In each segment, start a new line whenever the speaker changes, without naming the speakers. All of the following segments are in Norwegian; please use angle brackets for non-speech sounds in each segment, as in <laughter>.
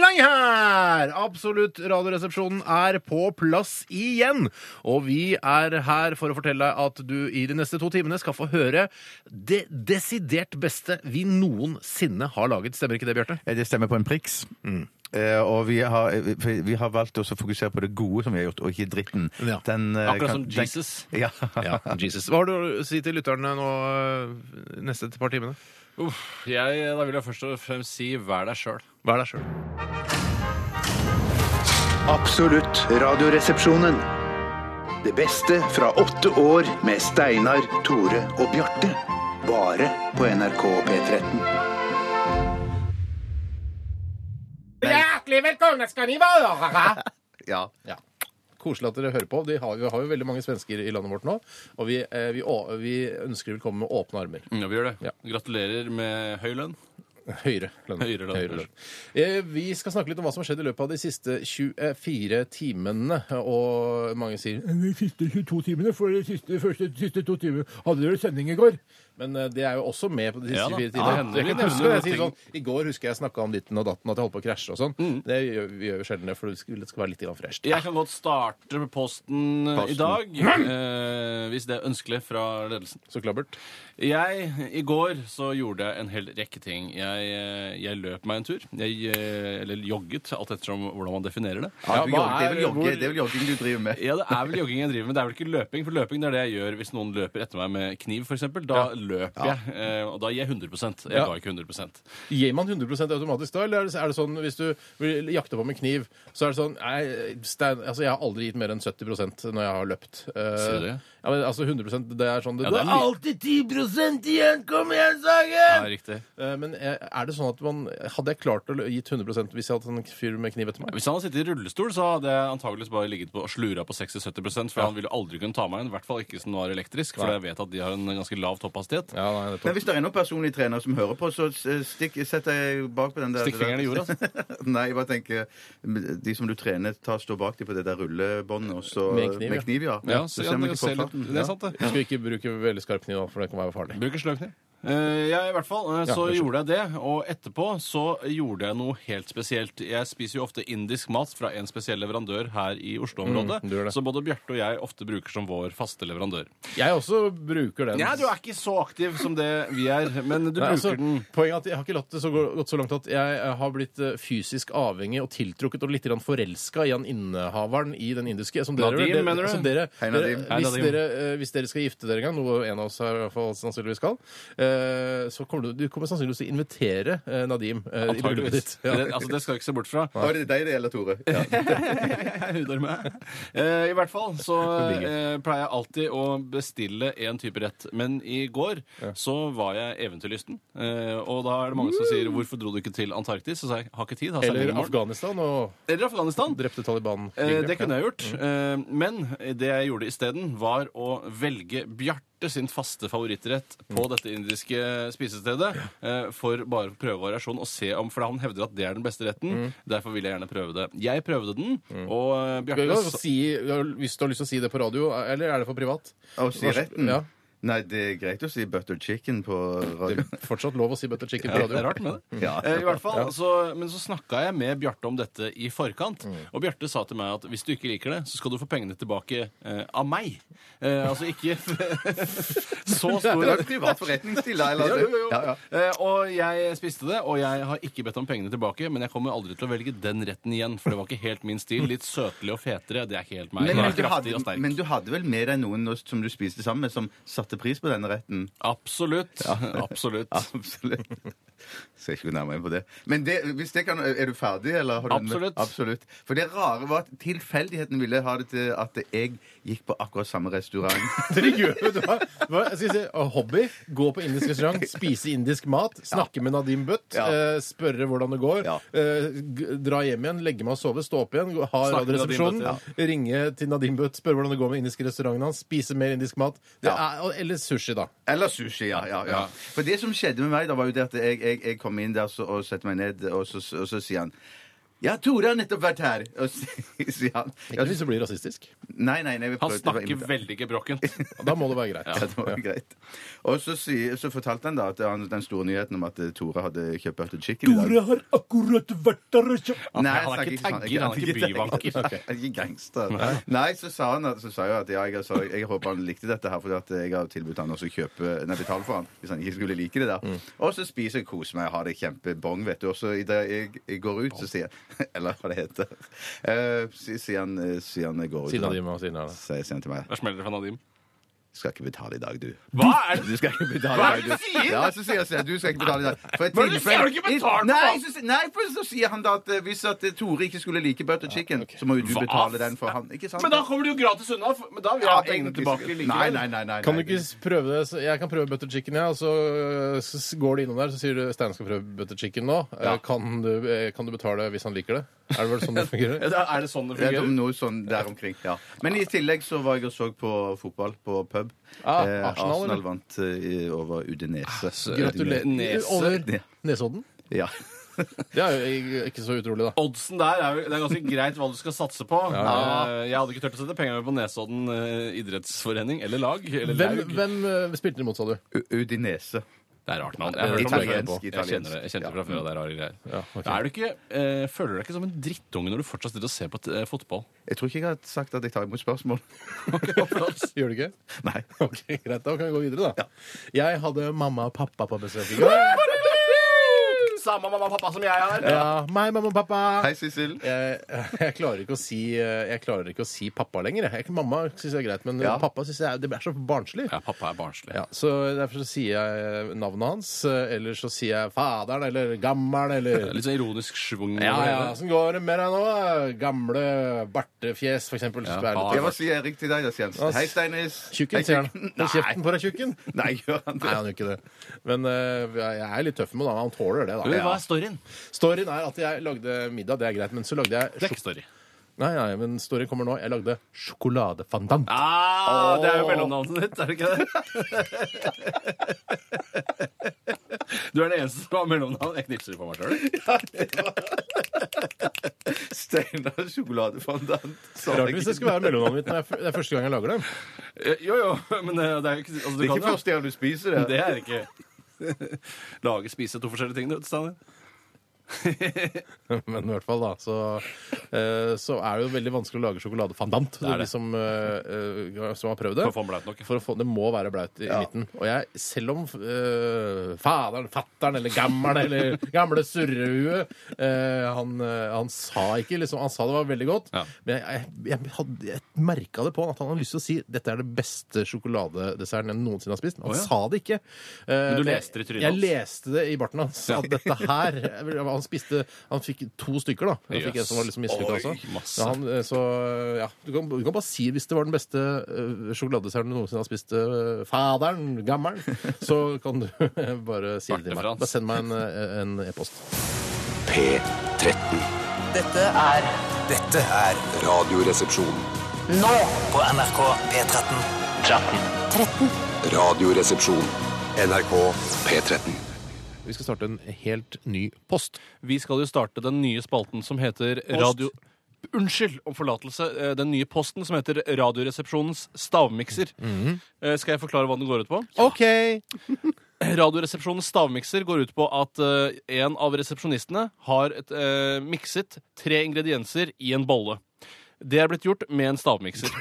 Lang her! Absolutt Radioresepsjonen er på plass igjen. Og vi er her for å fortelle deg at du i de neste to timene skal få høre det desidert beste vi noensinne har laget. Stemmer ikke det, Bjarte?
Eh, Det stemmer på en priks.
Mm.
Eh, og vi har, eh, vi- vi har valgt også å fokusere på det gode som vi har gjort, og ikke dritten.
Ja.
Den, eh,
Akkurat
kan-
som
den-
Jesus.
<laughs> Ja.
Ja, Jesus. Hva har du å si til lytterne nå eh, neste par timene?
Uff, jeg, Da vil jeg først og fremst si vær deg sjøl.
Vær deg sjøl.
Absolutt Radioresepsjonen. Det beste fra åtte år med Steinar, Tore og Bjarte. Bare på NRK P13.
Hjertelig velkommen skal ni være! <laughs>
ja.
Koselig at dere hører på. De har, vi har jo veldig mange svensker i landet vårt nå. Og vi, eh, vi, å- vi ønsker velkommen med åpne armer.
Ja, vi gjør det.
Ja.
Gratulerer med høy lønn.
Høyere lønn.
Høyere lønn.
Eh, Vi skal snakke litt om hva som har skjedd i løpet av de siste 24 timene. Og mange sier De siste 22 timene, for de siste, første, siste to timene hadde dere sending i går. Men eh, det er jo også med på de siste
Ja da.
24
Ja, det
timene.
hender
jeg
vi
kan huske
nevner
det jeg sier
ting.
sånn, I går husker jeg snakka om ditten og datten, at jeg holdt på å krasje og sånn.
Mm.
Det gjør vi gjør jo sjelden det, for det skal det skal være litt grann fresht.
Jeg kan godt starte med posten, eh, i dag, eh, hvis det er ønskelig fra ledelsen.
Så klabbert.
Jeg, I går så gjorde jeg en hel rekke ting. Jeg, eh, jeg løp meg en tur. Jeg, eh, eller jogget, alt ettersom hvordan man definerer det.
Ja,
hva
du jogger- det er vel
er-
jogge-
hvor-
det er vel jogging du driver med.
Ja, det er vel jogging jeg driver med. Det er vel ikke løping, for løping det er det jeg gjør hvis noen løper etter meg med kniv, f.eks. Da løper jeg, eh, og da gir jeg 100 Jeg
Ja.
ga ikke 100
Gir man 100 automatisk da, eller er det, er det sånn hvis du vil jakte på med kniv, så er det sånn Nei, Stein, altså jeg har aldri gitt mer enn 70 når jeg har løpt. Eh,
Sier du det?
Ja, men altså 100 det er sånn det,
Ja, det er
er
mye.
alltid 10 igjen! Kom igjen,
Ja,
Sagen!
riktig.
Eh, Men eh, er det sånn at man Hadde jeg klart å lø- gitt 100 hvis jeg hadde en fyr med kniv etter meg?
Hvis han hadde sittet i rullestol, så hadde jeg antakeligvis bare ligget på og slura på 60-70 for han ville aldri kunne ta meg igjen. I hvert fall ikke som den var elektrisk, for
Nei.
jeg vet at de har en ganske lav topphastighet.
Ja, nei,
Men
nettopp.
hvis det er noen personlige trenere som hører på, så s- eh, stikk, setter jeg bak på den der
Stikk fingeren i jorda.
<laughs> Nei, jeg bare tenker De som du trener, ta, står bak deg på det der rullebåndet og så
Med kniv, ja.
med kniv ja.
Ja, så
ser
ja,
man
det,
ikke på
ser litt,
farten.
det er sant, det.
Skal vi ikke bruke veldig skarp kniv, da, for det kan være farlig.
Bruker sløvkniv. Eh, ja, i hvert fall. eh,
Ja,
så
unnskyld.
gjorde jeg det. Og etterpå så gjorde jeg noe helt spesielt. Jeg spiser jo ofte indisk mat fra en spesiell leverandør her i Oslo-området.
Mm, du gjør det.
så både Bjarte og jeg ofte bruker som vår faste leverandør.
Jeg også bruker den.
Ja, du er ikke så aktiv som det vi er, men du
Nei,
bruker
altså,
den.
Poenget er at jeg har ikke latt det så gå- gått så langt at jeg eh, har blitt eh, fysisk avhengig og tiltrukket og litt grann forelska i han innehaveren i den indiske. Som dere,
Nadim,
dere-
mener du?
Som dere,
Hei,
dere,
Nadim.
Hei,
hvis,
Nadim.
dere, eh, hvis dere skal gifte dere en gang, noe en av oss her i hvert fall sannsynligvis skal, eh, så kommer du, du kommer sannsynligvis til å invitere eh, Nadim eh, i bryllupet ditt.
Antageligvis.
Ja.
Det, altså, det skal du ikke se bort fra.
Var det deg det gjelder, Tore? Ja.
<laughs> Jeg hudar meg. Eh, I hvert fall
<laughs>
så eh, pleier jeg alltid å bestille én type rett. Men i går så var jeg eventyrlysten. Eh, og da er det mange som sier 'Hvorfor dro du ikke til Antarktis?' Så sa jeg 'Har ikke tid'. Har sending i
Mm. Eller
morgen.»
Afghanistan og
altså, Eller Afghanistan.
drepte Taliban.
Eh, det kunne jeg gjort.
Mm.
Eh, men det jeg gjorde isteden, var å velge Bjarte sin faste favorittrett på
Mm.
dette indiske spisestedet eh, for bare å prøve variasjon og se om For han hevder at det er den beste
Mm.
retten. Derfor vil jeg gjerne prøve det. Jeg prøvde den, og eh,
Skal vi
Bjarte
da si, hvis du har lyst til å si det på radio, eh, eller er det for privat?
Og si retten?
Ja.
Nei, det er greit å si butter chicken på radio.
Fortsatt lov å si butter chicken på
Ja,
radio.
det er rart med det.
<laughs> Ja.
Eh, I hvert fall, så, men så snakka jeg med Bjarte om dette i forkant.
Mm.
Og Bjarte sa til meg at hvis du ikke liker det, så skal du få pengene tilbake eh, av meg. Eh, altså ikke <laughs> så
Det
stor
var privat
<laughs>
forretningsstil, da. Eller?
Jo, jo, jo.
Ja, ja.
Eh, og jeg spiste det, og jeg har ikke bedt om pengene tilbake. Men jeg kommer aldri til å velge den retten igjen, for det var ikke helt min stil. Litt søtlig og fetere. Det er ikke helt meg.
Men,
Jeg
men,
er
du
kraftig og
hadde,
sterk.
men du hadde vel med deg noen nå som du spiste sammen med, som satte pris på denne retten?
Absolutt. Absolutt.
<laughs> Absolutt. Så jeg skal ikke gå nærmere inn på det. Men det, hvis det kan, er du ferdig, eller? Har du
Absolutt.
Absolutt. For det rare var at tilfeldigheten ville ha det til at jeg gikk på akkurat samme
<laughs>
restaurant.
Dere gjør jo det. Hva, jeg skal si, eh, hobby, gå på indisk
<laughs>
restaurant, spise indisk mat, snakke med Nadim Butt,
Ja.
eh, spørre hvordan det går,
Ja.
eh, g- dra hjem igjen, legge meg og sove, stå opp igjen, gå- ha
Snakke med
radioresepsjonen,
Nadim
ringe til Nadim Butt, spørre hvordan det går med indisk restauranten hans, spise mer indisk mat, det er,
Ja.
eller sushi da.
Eller sushi, ja, ja, ja. For det som skjedde med meg, da var jo det at jeg, jeg, jeg kom inn der så, og setter meg ned, og så, og så sier han ja, Tore har nettopp vært her! Og så <laughs> sier han ja,
Ikke hvis du blir rasistisk.
Nei, nei, nei. vi
Han
prøvde- det var
snakker
imita-
veldig
<laughs>
gebrokkent.
Da må det være greit.
Ja, det var greit. Og så, sier- så fortalte han da at han, den store nyheten om at eh, Tore hadde kjøpt butter chicken i dag.
har akkurat vært der og kjøpt.
Nei,
Han er
snakker
ikke
sånn.
tagger, han er ikke byvanker.
Han
<laughs>
er ikke gangster. Nei, så sa han at, så sa jeg at ja, jeg, sa, jeg håper han likte dette her, fordi at jeg har tilbudt han også å kjøpe Nei, betale for han, hvis han ikke skulle like det der.
Mm.
Og så spiser jeg, koser meg, har det kjempebong, vet du. Og så idet jeg, jeg går ut, så sier jeg <laughs> Eller hva det heter. Eh, si- sier han, eh, sier han jeg går ut.
Siden av de med siden av det.
Så jeg sier han til meg
Der smeller det fra Nadim.
Skal ikke betale i dag, du.
Hva er det?
Du skal ikke betale
Hva er det
i dag,
du sier?
Ja, så sier jeg, sier jeg, du skal ikke betale i dag. For et
Hva er det du
tilfelle-
sier? Har du ikke betalt for
nei,
den?
så, si- nei, for så sier han da at eh, hvis at eh, Tore ikke skulle like butter chicken, så må jo du
Hva?
betale den for han. Ikke sant?
Men da kommer det jo gratis unna! for- Men da vil jeg ha pengene tilbake likevel.
Nei, nei, nei, nei,
Kan du
nei.
ikke s- prøve det? Så Jeg kan prøve butter chicken, jeg. Og så, øh, så s- går du innom der, så sier du Stein skal prøve butter chicken nå. Eh, Kan, du, eh, kan du betale hvis han liker det? Er det vel sånn det
<laughs> Ja,
fungerer?
da Er det sånn det
Det er
fungerer?
noe sånn der omkring, ja. Men i tillegg så var jeg og så på fotball på pub.
Ah,
Eh,
Arsenal,
Arsenal,
eller?
vant eh, over Udinese.
Gratulerer.
Nese.
Over
Ja.
Nesodden?
Ja.
Det er jo ikke så utrolig, da.
Oddsen der er jo det er ganske greit hva du skal satse på. Eh, Jeg hadde ikke turt å sette pengene på Nesodden eh, idrettsforening eller lag. Eller
Hvem,
laug.
hvem øh, spilte dere imot, sa du?
U- Udinese.
Det er rart navn.
Ja,
Jeg,
det
hørte om det.
er
italiensk,
jeg kjenner det
italiensk.
jeg kjente det fra før av. Det er rare greier.
Ja, ok.
Er du ikke, eh, føler du deg ikke som en drittunge når du fortsatt sitter og ser på eh, fotball?
Jeg tror ikke jeg har sagt at jeg tar imot spørsmål.
<laughs> Gjør du ikke?
<laughs> Nei.
Ok, Greit, da kan vi gå videre, da. Jeg hadde mamma og pappa på besøk i går.
Samme mamma og pappa som jeg har.
Ja, meg, mamma og pappa.
Hei, Sissel.
jeg, jeg, klarer ikke å si, jeg klarer ikke å si pappa lenger. jeg. Jeg, mamma syns jeg er greit, men
Ja.
pappa syns jeg er- det er så barnslig.
Ja, pappa er barnslig.
Ja, så Derfor så sier jeg navnet hans, eh, eller så sier jeg faderen eller gammer'n
Det er
eller
Litt sånn ironisk schwung.
ja,
over det
ja,
hele.
Åssen går det med deg nå? Gamle bartefjes, for eksempel. Ja,
faen.
Ja, hva sier Erik til deg, da, Jens? Hei, Steinis.
Tjukken,
Hei,
sier han.
tjukken.
Hold kjeften på deg,
<laughs>
tjukken!
Nei, gjør han
Nei,
det?
han gjør ikke det. Men eh, jeg er litt tøff med ham. Han tåler det, da.
Du, Hva
Ja.
er storyen?
Storyen er at jeg lagde middag, det er greit, men så lagde jeg sjok-
Dekkstory.
Nei, nei, men storyen kommer nå. Jeg lagde sjokoladefandant.
Ah, Det er jo mellomnavnet ditt, er
<laughs>
det ikke det? Du er den eneste som har mellomnavn. Jeg knipser på
<laughs>
meg sjøl.
Steinar sjokoladefondant. Sa
Rart
jeg
hvis
ikke.
det skulle være mellomnavnet mitt når jeg f- det er første gang jeg lager det.
Jo, jo, <laughs> men eh, det er jo ikke altså, du
Det er
kan
ikke
jo-
første gang du spiser det.
<laughs> Det er det ikke. <laughs> Lage, spise to forskjellige ting, du, Steinar.
<laughs> Men i hvert fall, da, så, eh, så er det jo veldig vanskelig å lage sjokoladefandant. Det
er det.
De som, eh, eh, som har prøvd det.
For å få den blaut nok.
For å få, det må være blaut i midten. Og jeg, selv om eh, faderen, fatteren eller gammelen eller gamle surrehue eh, han, eh, han sa ikke liksom Han sa det var veldig godt,
Ja.
men jeg, jeg, jeg, hadde- jeg merka det på han at han hadde lyst til å si dette er det beste sjokoladedesserten jeg noensinne har spist. Men han
Å, ja.
sa det ikke. Eh,
Men du
jeg-
leste det i trynet
Jeg
hans?
leste det i barten hans. At dette her
<laughs>
Han spiste Han fikk to stykker, da. Han fikk en som var liksom mislykka
Oi,
også.
masse.
Ja, han, eh, så ja, du kan, du kan bare si hvis det var den beste eh, sjokoladedesserten du noensinne har spist, eh, faderen, gammelen, så kan du <laughs> bare si det
Barte
til meg.
Frans.
Bare send meg en, eh, en e-post.
P13.
Dette er
Dette er Radioresepsjon.
nå på NRK P13.
Radioresepsjon. NRK P13.
Vi skal starte en helt ny post.
Vi skal jo starte den nye spalten som heter Radio... Unnskyld om forlatelse. eh, Den nye posten som heter Radioresepsjonens stavmikser. Eh, Skal jeg forklare hva den går ut på?
Mhm. <laughs> OK!
<laughs> Radioresepsjonens stavmikser går ut på at eh, en av resepsjonistene har et, eh, mikset tre ingredienser i en bolle. Det er blitt gjort med en stavmikser.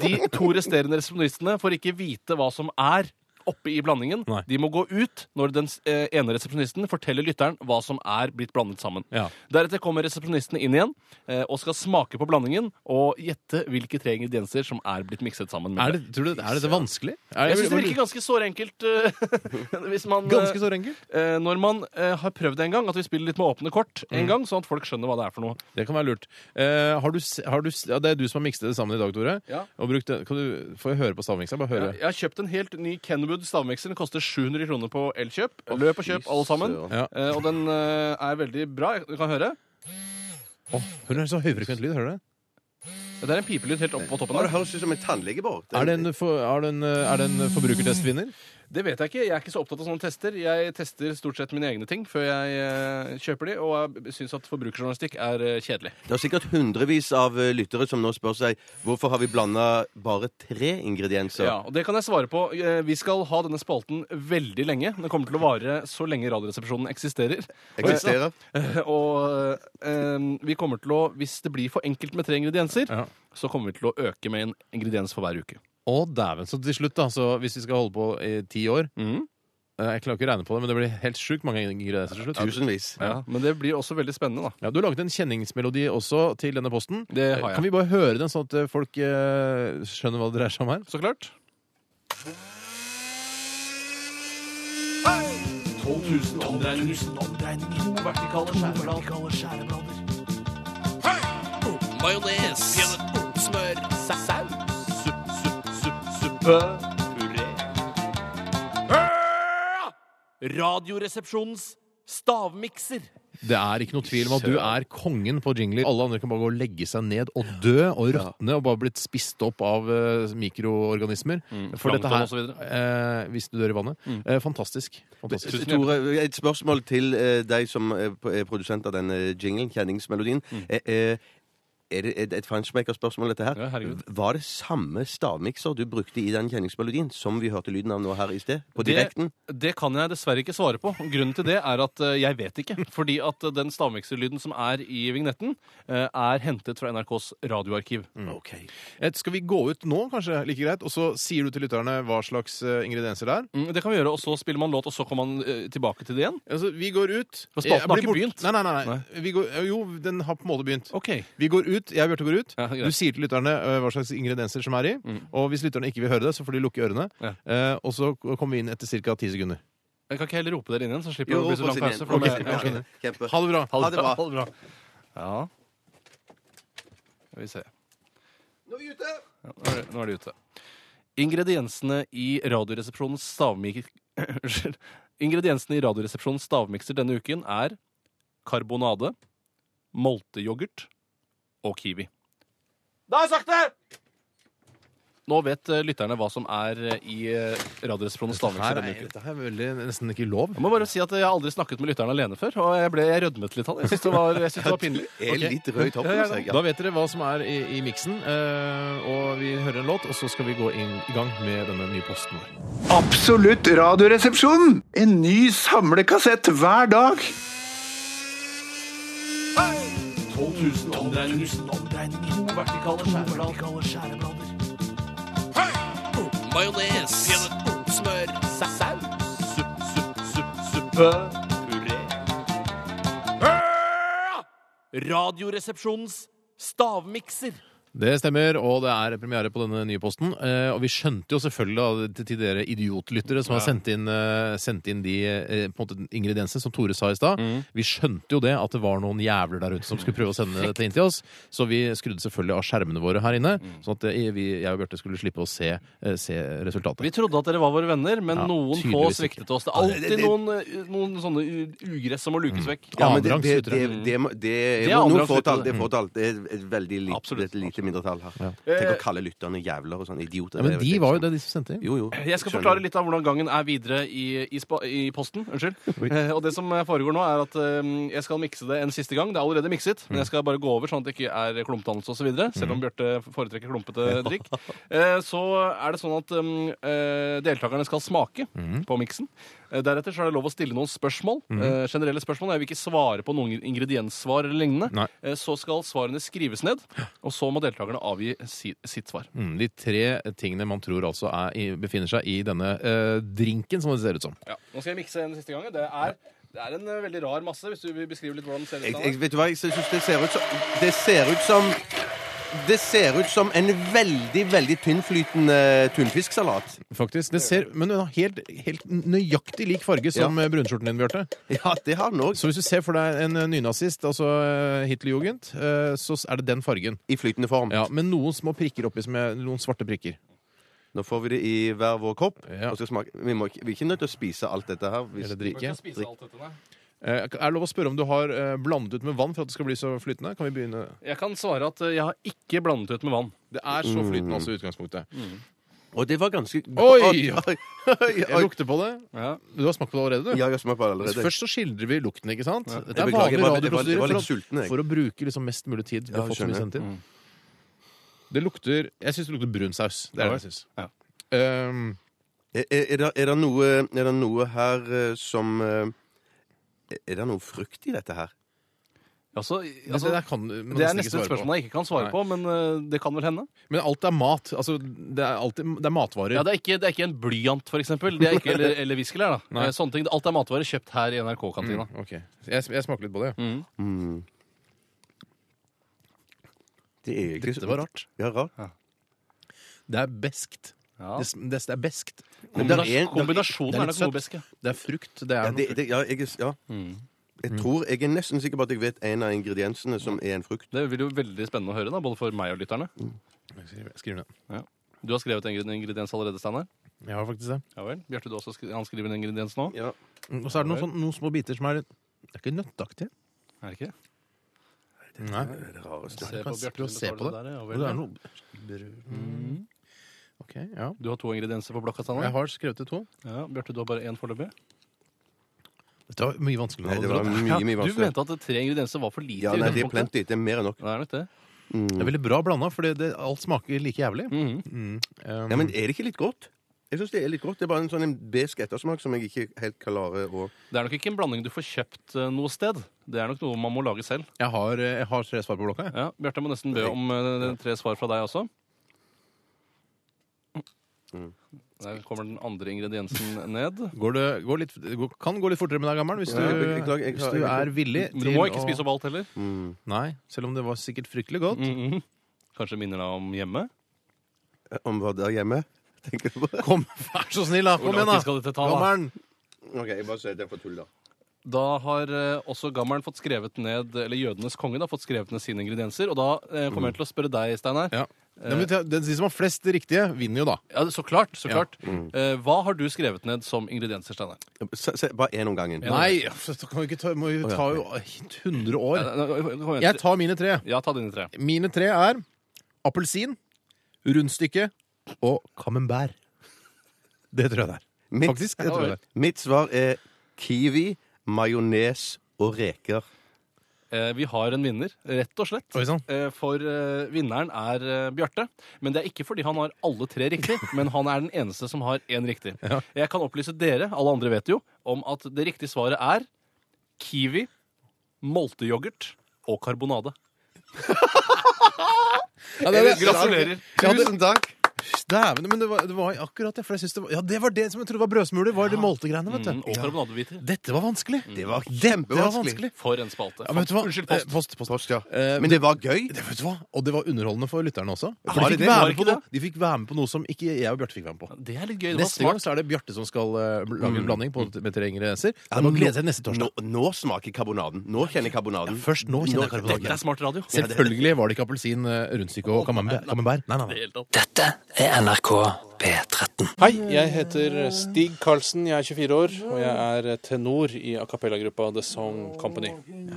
De to resterende resepsjonistene får ikke vite hva som er oppe i blandingen.
Nei.
De må gå ut når den s- eh, ene resepsjonisten forteller lytteren hva som er blitt blandet sammen.
Ja.
Deretter kommer resepsjonistene inn igjen eh, og skal smake på blandingen og gjette hvilke tre ingredienser som er blitt mikset sammen. med
Er det, tror du, er dette vanskelig? Er,
Jeg syns det virker ganske såre enkelt. eh, <laughs> hvis man, eh,
ganske så enkelt.
eh, når man eh, har prøvd det en gang, at vi spiller litt med åpne kort
Mm.
en gang, sånn at folk skjønner hva det er for noe.
Det kan være lurt. Eh, har du, s- har du, s- ja, det er du som har mikset det sammen i dag, Tore.
Ja.
Og brukt det, kan du, får jeg høre på stavmikseren? Bare høre.
Jeg har kjøpt en helt ny Kenwood stavmikser. Den koster 700 kroner på Elkjøp. Løp og kjøp, alle sammen.
Ja.
Eh, og den eh, er veldig bra. Jeg- Du kan høre.
Åh, hun er så høyfrekvent lyd, hører du det?
Det er en pipelyd helt oppe på toppen.
Ja, det
Der.
høres ut som en tannlegeborg.
Er det en, for, er det en, eh, er det en forbrukertestvinner?
Det vet jeg ikke. Jeg er ikke så opptatt av sånne tester. Jeg tester stort sett mine egne ting før jeg eh, kjøper de, og jeg syns at forbrukerjournalistikk er eh, kjedelig.
Det er sikkert hundrevis av eh, lyttere som nå spør seg hvorfor har vi blanda bare tre ingredienser.
Ja, og Det kan jeg svare på. Eh, Vi skal ha denne spalten veldig lenge. Den kommer til å vare så lenge Radioresepsjonen eksisterer.
Eksisterer.
<laughs> Og eh, vi kommer til å, hvis det blir for enkelt med tre ingredienser,
Ja.
så kommer vi til å øke med en ingrediens for hver uke.
Å, dæven. Så til slutt, da, så hvis vi skal holde på i ti år
Mm.
eh, Jeg klarer ikke å regne på det, men det blir helt sjukt mange ingredienser til slutt.
Tusenvis.
Ja, Men det blir også veldig spennende, da.
Ja, du har laget en kjenningsmelodi også til denne posten.
Det har jeg.
Kan vi bare høre den, sånn at eh, folk eh, skjønner hva det dreier seg om her?
Så klart. 12 000 omdreininger. To vertikale skjæreblader. Majones. Smør. Saus. Supp, supp, supp, suppe. Puré. Radioresepsjonens stavmikser.
Det er ikke noe tvil om at du er kongen på jingler. Alle andre kan bare gå og legge seg ned og dø og råtne og bare blitt spist opp av eh, mikroorganismer. For dette
Mm. plankton og
her,
så videre. Mm.
eh, hvis du dør i vannet eh, Fantastisk. fantastisk.
Tore, et spørsmål til eh, deg som er p- er produsent av denne jinglen, kjenningsmelodien.
Mm.
Eh, eh, Er det et- et Funchmaker-spørsmål, dette her?
Ja, herregud.
Var det samme stavmikser du brukte i den kjenningsmelodien som vi hørte lyden av nå her i sted? På direkten?
Det, det kan jeg dessverre ikke svare på. Grunnen til det er at eh, jeg vet
<laughs>
ikke. Fordi at eh, den stavmikserlyden som er i vignetten, eh, er hentet fra NRKs radioarkiv.
Mm. Et, Eh, skal vi gå ut nå, kanskje? Like greit. Og så sier du til lytterne hva slags eh, ingredienser det er.
Mm, det kan vi gjøre, og så spiller man låt, og så kommer man eh, tilbake til det igjen.
Altså, vi går ut
For
Jeg
spalten har
blir
ikke
bort-
begynt.
Nei, nei, nei. nei.
Nei.
Vi går, jo, den har på en måte begynt.
Ok.
Vi går ut, jeg og Bjarte går ut.
Ja, greit. Mm.
du sier til lytterne ø, hva slags ingredienser som er i. Og hvis lytterne ikke vil høre det, så får de lukke ørene.
Ja.
Eh, og så kommer vi inn etter ca. ti sekunder.
Jeg kan ikke heller rope dere inn igjen, så slipper det
Jo,
å bli så
rop
lang
oss inn
pause. For
igjen.
det-
Ok, Kjempe.
Ha det bra.
Ha det bra.
Ha det bra. Ja. Skal vi se. Ja, Nå er vi ute! nå er de ute. Ingrediensene i Radioresepsjonens stavmik... <coughs> Unnskyld. Ingrediensene i Radioresepsjonens stavmikser denne uken er karbonade, molteyoghurt og kiwi. Da har jeg sagt det! Nå vet eh, lytterne hva som er eh, i eh, Radioresepsjonens stavmikser denne uken.
dette her er veldig, nesten ikke lov.
Jeg må bare si at jeg har aldri snakket med lytteren alene før, og jeg ble jeg rødmet litt av det. Jeg synes det var, jeg synes
<laughs>
det var pinlig.
Er litt rød i toppen, altså. sier jeg.
Da vet dere hva som er i, i miksen. eh, og vi hører en låt, og så skal vi gå inn, i gang med denne nye posten vår.
Absolutt radioresepsjon! En ny samlekassett hver dag.
12 000 omdreininger. To vertikale skjæreblader. Majones. Smør. Saus. Supp, supp, supp, suppe. Puré. Radioresepsjonens stavmikser.
Det stemmer, og det er premiere på denne nye posten. Eh, og vi skjønte jo selvfølgelig da, til- til dere idiotlyttere som har sendt inn, eh, sendt inn de eh, på en måte, ingrediensene som Tore sa i stad.
Mm.
Vi skjønte jo det at det var noen jævler der ute som skulle prøve å sende dette inn til oss. Så vi skrudde selvfølgelig av skjermene våre her inne,
Mm.
sånn at eh, vi, jeg og Bjarte skulle slippe å se, eh, se
Vi
resultatet.
trodde at dere var våre venner, men
Ja,
noen få
tydeligvis ikke.
sviktet oss. Det er alltid noen, eh, noen sånne u- ugress som må lukes vekk.
Mm. Ja, men det,
Annenrangs
det, det,
lyttere.
det, må- det er
Det er
jo noen
annenrangs
fåtall.
lyttere.
Det er fåtall. Det er et veldig lite,
Absolutt.
det er et lite mindretall her. Tenk å kalle lytterne jævler og sånne idioter.
Ja, men de var jo det, de som sendte inn.
Jo, jo.
Eh, Jeg skal
Skjønner.
forklare litt av hvordan gangen er videre i, i, spa, i posten. Unnskyld. Eh, og det som foregår nå, er at eh, jeg skal mikse det en siste gang. Det er allerede mikset, men jeg skal bare gå over sånn at det ikke er klumpdannelse osv. Selv om Bjarte foretrekker klumpete drikk. ehm, Eh, så er det sånn at eh, eh, deltakerne skal smake på miksen. Eh, Deretter så er det lov å stille noen spørsmål. Eh, generelle spørsmål. Jeg vil ikke svare på noen ingredienssvar eller lignende.
Nei.
Eh, så skal svarene skrives ned, og så må deltakerne avgi si, sitt svar.
Mm, de tre tingene man tror altså er, i- befinner seg i denne eh, drinken, som det ser ut som.
Ja. Nå skal jeg mikse en siste gang. Det er, det er en eh, veldig rar masse, hvis du vil beskrive litt hvordan den ser ut.
Jeg,
Anne.
jeg, vet du hva, jeg syns det ser ut som Det ser ut som det ser ut som en veldig veldig tynnflytende tunfisksalat.
Faktisk. Det ser, men den har helt, helt nøyaktig lik farge som eh, brunskjorten din, Bjarte.
<laughs> Ja, det har den òg.
Så hvis du ser for deg en eh, nynazist, altså eh, Hitlerjugend, eh, så s- er det den fargen.
I flytende form.
Ja, Med noen små prikker oppi, som er noen svarte prikker.
Nå får vi det i hver vår kopp.
Ja.
Og skal smake. Vi, må, ikke- vi er ikke nødt til å spise alt dette her. Hvis,
Eller drikke.
Skal jeg spise alt dette, nei?
Eh, Er det lov å spørre om du har eh, blandet ut med vann for at det skal bli så flytende? Kan vi begynne?
<laughs>
Jeg kan svare at eh, jeg har ikke blandet ut med vann. Mm.
Det er så flytende også i utgangspunktet.
Mm. Og det var ganske
Oi! <laughs>
oi, oi,
Jeg lukter på det.
Ja.
Du har smakt på det allerede, du?
Ja, jeg har smakt på det allerede.
Altså, Først så skildrer vi lukten, ikke sant? Dette
Jeg
er
beklager,
vanlig
jeg var- jeg var- jeg
radioprosedyre
var
for,
litt
å-
sulten, jeg.
for å bruke liksom mest mulig tid. Vi har
Ja,
fått så mye
skjønner.
sendt
Mm.
inn. Det lukter Jeg syns det lukter brun saus. Det er det jeg syns.
Ja.
Um,
Er, er, det, er, det noe, er det noe her eh, som eh, Er det noe frukt i dette her?
Altså,
det-
altså,
det der kan man
det er
nesten ikke
nesten et
svare på.
spørsmål jeg ikke kan svare
Nei.
på, men eh, det kan vel hende.
Men alt er mat. Altså, det er, alltid, det er matvarer.
Ja, det, er ikke, det er ikke en blyant, for eksempel. Det er ikke, eller, eller
<laughs>
viskelær, da. Eh, Sånne ting. Alt er matvarer kjøpt her i NRK-kantina.
Mm, ok. jeg, jeg smaker litt på det.
Mm.
Mm. Det er ikke
Dette var rart.
Ja, rart.
Det er beskt.
Ja.
Det, sm- det, det er beskt.
Men der
Kombinasjon-
er- der-
kombinasjonen
det er
er,
litt
nok
søtt.
godbeske.
Det er frukt. Det
Ja,
er noe
det,
frukt. Mm.
det, ja, jeg, er- ja. jeg tror Jeg er nesten sikker på at jeg vet en av ingrediensene som er en frukt.
Det blir jo veldig spennende å høre, da, både for meg og lytterne.
Mm. Jeg skriver- jeg skriver ned.
Du har skrevet en ingre- ingrediens allerede, Steinar.
Jeg har faktisk det.
Ja vel. Bjarte, du har også skri- han skriver en ingrediens nå?
Ja.
Mm, Og så er det noen, sånn- noen små biter som er litt Det er ikke nøtteaktige.
Er det ikke?
Nei.
Se
kan
på
prøve å
Bjarte, vil du
se
svare
på det.
der, ja
Og
vel,
det
ja.
er noe
Mm.
OK, ja.
Du har to ingredienser på blokka,
Jeg
Steinar.
har skrevet det to.
Ja, Bjarte, du har bare én foreløpig.
Dette var mye vanskeligere.
Nei,
enn
det
jeg
var
hadde trodd.
mye,
Ja,
mye
du
vanskeligere.
mente at tre ingredienser var for lite.
Ja,
i
nei, det er
utgangspunktet.
plenty. Det er mer enn nok.
Det er nok det.
Mm.
Det er veldig bra blanda, for alt smaker like jævlig.
Mm.
Mm. Um,
Ja, men er det ikke litt godt? Jeg syns det er litt godt. Det er bare en sånn en besk ettersmak som jeg ikke helt klarer å
Det er nok ikke en blanding du får kjøpt eh, noe sted. Det er nok noe man må lage selv.
Jeg har, eh, jeg har tre svar på blokka. jeg.
Ja, Bjarte må nesten be om eh, tre svar fra deg også.
Mm.
Der kommer den andre ingrediensen ned.
Går det, går litt, det går, kan gå litt fortere med deg, gammer'n, hvis, du-
Ja, jeg beklager, jeg
hvis
har- Mm.
du
jeg-
er villig
Men du må ikke spise opp alt heller.
Nei, selv om det var sikkert fryktelig godt.
Mhm. Kanskje minner deg om hjemme?
Eh, Om hva det er hjemme? Tenker du på det?
Kom, vær så snill, da! Kom
Hvor
igjen,
lang
da!
tid skal dette ta, da?
Gammer'n!
OK, jeg bare sier det for tull, da.
Da har eh, også gammelen fått skrevet ned, eller jødenes konge da, fått skrevet ned sine ingredienser. Og da eh, kommer jeg til å spørre deg, Steinar.
Mm.
Eh,
Ja. Ja, men ta- Den de som har flest riktige, vinner jo, da.
Ja, så klart. så
Ja.
klart. Eh, hva har du skrevet ned som ingredienser, Steinar?
Mm. Se, se, bare én om gangen.
Nei, så kan vi ikke ta, må jo ta jo 100 år.
Kom
Jeg
igjen.
tar mine tre.
Ja, ta dine tre.
Mine tre er appelsin, rundstykke og camembert. Det tror jeg det er.
Mitt-
Faktisk. Det tror jeg det er.
Mitt svar er kiwi, majones og reker.
Eh, vi har en vinner, rett og slett.
Oi sånn. sann.
Eh, For eh, vinneren er eh, Bjarte. Men det er ikke fordi han har alle tre riktig,
<laughs>
men han er den eneste som har én riktig. Jeg kan opplyse dere, alle andre vet jo, om at det riktige svaret er kiwi, molteyoghurt og karbonade. Gratulerer.
Tusen takk!
Dæven, men det var, det var akkurat det. For jeg synes det var, ja, det var det som jeg trodde var brødsmuler. Var det moltegreiene, vet du.
Mm, og Mm.
Ja.
karbonadebiter.
Dette var vanskelig.
Det var
Det var vanskelig.
kjempevanskelig.
For en spalte.
Ja, men vet du hva?
Unnskyld,
Eh,
post.
post, post.
Post, ja.
Eh,
Men det var gøy.
Det, vet du hva? Og det var underholdende for lytterne også. For
Var
de,
det
fikk
det?
være
Var
med
det
på
ikke
noe, de fikk være med på noe som ikke jeg og Bjarte fikk være med på.
Det er litt gøy. Det var
Neste gang
smart. Mm.
så er det Bjarte som skal eh, bl- lage en blanding på, med tre ingredienser. Så
Ja,
jeg må
nå-
glede seg til neste
Nå,
torsdag.
nå smaker karbonaden. Nå kjenner jeg karbonaden.
Først nå kjenner jeg
Dette er
karbonaden.
smart radio.
Selvfølgelig var det ikke appelsin, eh, rundstykke og camembert. camembert. Nei, nei, nei.
Dette er NRK P13.
Hei, jeg heter Stig Karlsen, jeg er 24 år, og jeg er tenor i a cappella-gruppa The Song Company.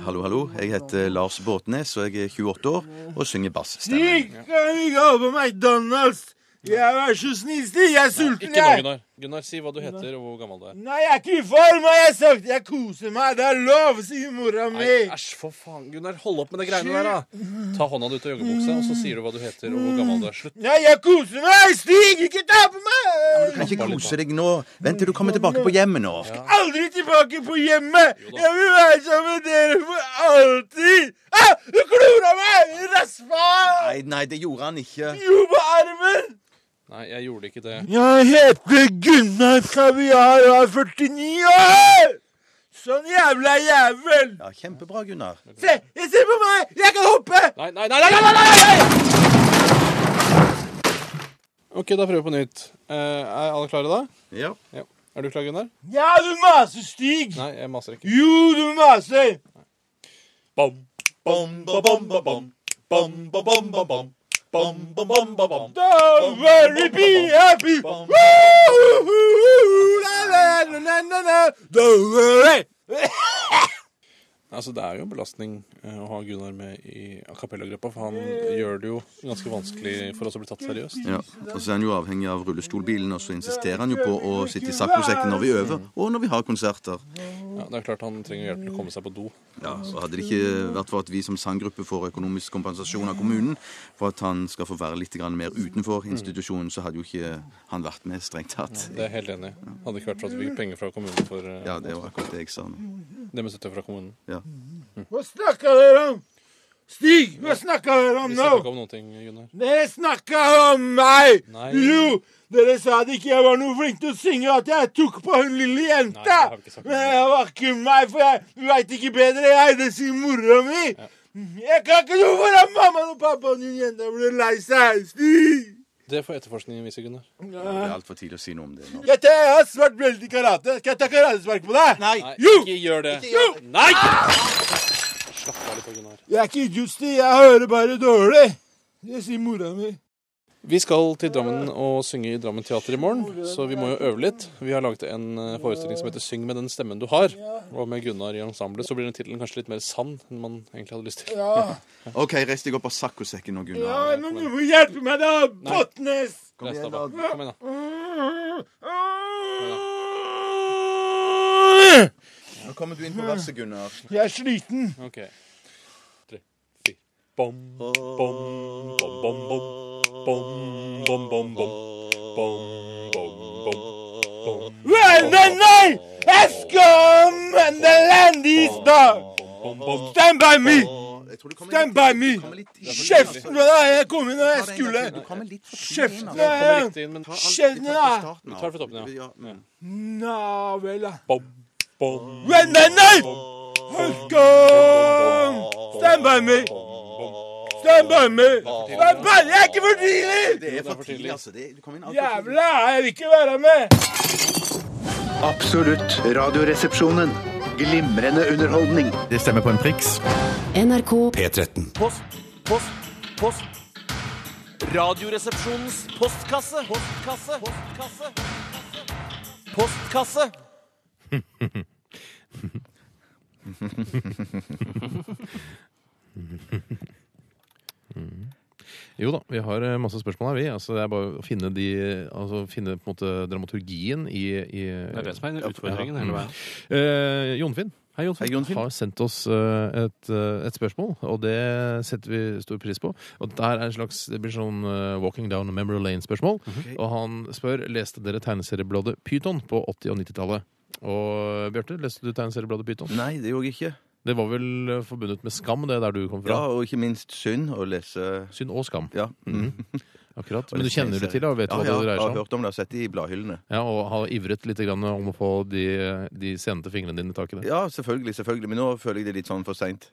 Hallo, hallo. Jeg heter Lars Båtnes, og jeg er 28 år og synger bassstemme.
Ikke gå på McDonald's! Jeg er så snill, Stig! Jeg er sulten, jeg!
Gunnar, si hva du heter, og hvor gammel du er.
Nei, jeg er ikke i form, har jeg sagt! Jeg koser meg! Det er lov, sier mora mi!
Nei, æsj, for faen. Gunnar, hold opp med de greiene der, da. Ta hånda di ut av joggebuksa, og så sier du hva du heter, og hvor gammel du er. Slutt.
Nei, jeg koser meg! Stig, ikke ta på meg!
Kan ikke
Kose deg nå. Vent til du kommer tilbake på hjemmet nå.
Aldri tilbake på hjemmet! Jeg vil være sammen med dere for alltid! Ah, du klora meg! Raspa!
Nei, nei, det gjorde han ikke.
Jo, på armen!
Nei, jeg gjorde ikke det.
Jeg heter Gunnar Kaviar og er 49 år! Sånn jævla jævel!
Ja, Kjempebra, Gunnar.
Se, jeg ser på meg! Jeg kan hoppe!
Nei, nei, nei, nei, nei, nei, nei! OK, da prøver vi på nytt. Eh, er alle klare, da?
Ja.
Ja. Er du klar, Gunnar?
Ja, du maser, Stig!
Nei, jeg maser ikke.
Jo, du maser!
Bom, bom, bom, bom, bom, bom. Bom, bom, bom, bom, bom. Bom, bom, bom, bom, bom.
Don't worry, be happy! Woo-hoo-hoo, la-la-la-la-la-la. Don't worry!
Altså, Det er jo en belastning eh, å ha Gunnar med i a cappella-gruppa, for han gjør det jo ganske vanskelig for oss å bli tatt seriøst.
Ja, og så er han jo avhengig av rullestolbilen, og så insisterer han jo på å sitte i saccosekken når vi øver, og når vi har konserter.
Ja, det er klart Han trenger hjelp til å komme seg på do.
Ja, så Hadde det ikke vært for at vi som sanggruppe får økonomisk kompensasjon av kommunen for at han skal få være litt grann mer utenfor institusjonen, så hadde jo ikke han vært med, strengt tatt.
Det er jeg helt enig i. Hadde ikke vært for at vi fikk penger fra kommunen for eh,
Ja, det var akkurat det jeg sa. nå.
det med støtte fra kommunen.
Ja.
Mm.
Hva snakka dere om? Stig, hva snakka dere om
Vi
nå?
snakker ikke om noen ting, Gunnar.
Dere snakka om meg!
Nei.
Jo, dere sa at ikke jeg var noe flink til å synge, og at jeg tok på hun lille
Nei, det
jenta!
har vi ikke sagt.
Men det var ikke meg, for jeg veit ikke bedre, jeg. Det sier mora mi. Jeg kan ikke noe foran mammaen og pappaen din, jenta blir lei seg. Stig!
Det får etterforskningen vise, Gunnar.
Det er altfor tidlig å si noe om det nå.
Jeg, tar, jeg har svart belte i karate. Skal jeg ta karatespark på deg?
Nei!
Nei,
Jo!
ikke gjør det!
Jo! Ah!
Nei! Slapp av litt, Gunnar.
Jeg er ikke idiot, Stig. Jeg hører bare dårlig. Det sier mora mi.
Vi skal til Drammen og synge i Drammen Teater i morgen, så vi må jo øve litt. Vi har laget en eh, forestilling som heter 'Syng med den stemmen du har'. Og med Gunnar i ensemblet så blir den tittelen kanskje litt mer sann enn man egentlig hadde lyst til.
OK, reis deg opp av saccosekken nå,
Ja,
Gunnar.
men du må hjelpe meg, da, Botnes!
Reis deg opp. Kom igjen, da.
Nå kommer du inn på verset, Gunnar.
Jeg er sliten.
OK. Tre, fire. Bom, bom, bom, bom, bom. Bom, bom, bom, bom. Bom, bom, bom. Bom,
Nei, nei, nei! Jeg skal men the land is down!
bom, bom.
Stand by me!
Jeg tror du kommer
Stand by me! Kjeften på deg! Jeg kom inn når jeg skulle.
Du kommer litt for altså.
Kjeften på
Kommer
deg!
riktig inn, men
Kjeften på deg!
Du tar fra toppen, ja. Mm.
Nå vel, da.
Bom, bom,
Nei, nei, nei! Jeg skal Stand by me! Stand by me! Stand by Jeg er ikke for tidlig!
Det er
for
for
tidlig.
tidlig, altså. Det, du kom inn alt for tidlig.
Jævla, jeg vil ikke være med!
Absolutt radioresepsjonen. Glimrende underholdning.
Det stemmer på en priks.
NRK
P13.
Post, post, post. Radioresepsjonens postkasse. Postkasse. Postkasse. Postkasse.
Jo da, vi har eh, masse spørsmål her, vi. Altså, det er bare å finne, de, altså, finne på en måte dramaturgien i, i
Det er det som er utfordringen
Ja. Mm.
hele veien.
Eh, Jonfinn. Hei, Jonfinn.
Hei, Jonfinn.
Har sendt oss eh, et, eh, et spørsmål, og det setter vi stor pris på. Og der er en slags, Det blir sånn eh, Walking Down Memory Lane-spørsmål.
Mhm.
Og han spør leste dere tegneseriebladet Pyton på 80- og 90-tallet. Og Bjarte, leste du tegneseriebladet Pyton?
Nei, det gjorde jeg ikke.
Det var vel eh, forbundet med skam, det der du kom
Ja,
fra?
og ikke minst synd å lese
Synd og skam.
Ja.
Mhm.
<laughs>
Akkurat. Men du kjenner det til da, og vet
Mm. ja,
hva
ja,
det dreier seg
Jeg
om?
har hørt om det, har sett det i bladhyllene.
Ja, og har ivret litt grann om å få de, de senete fingrene dine tak i det.
Ja, selvfølgelig, selvfølgelig. Men nå føler jeg det litt sånn for seint.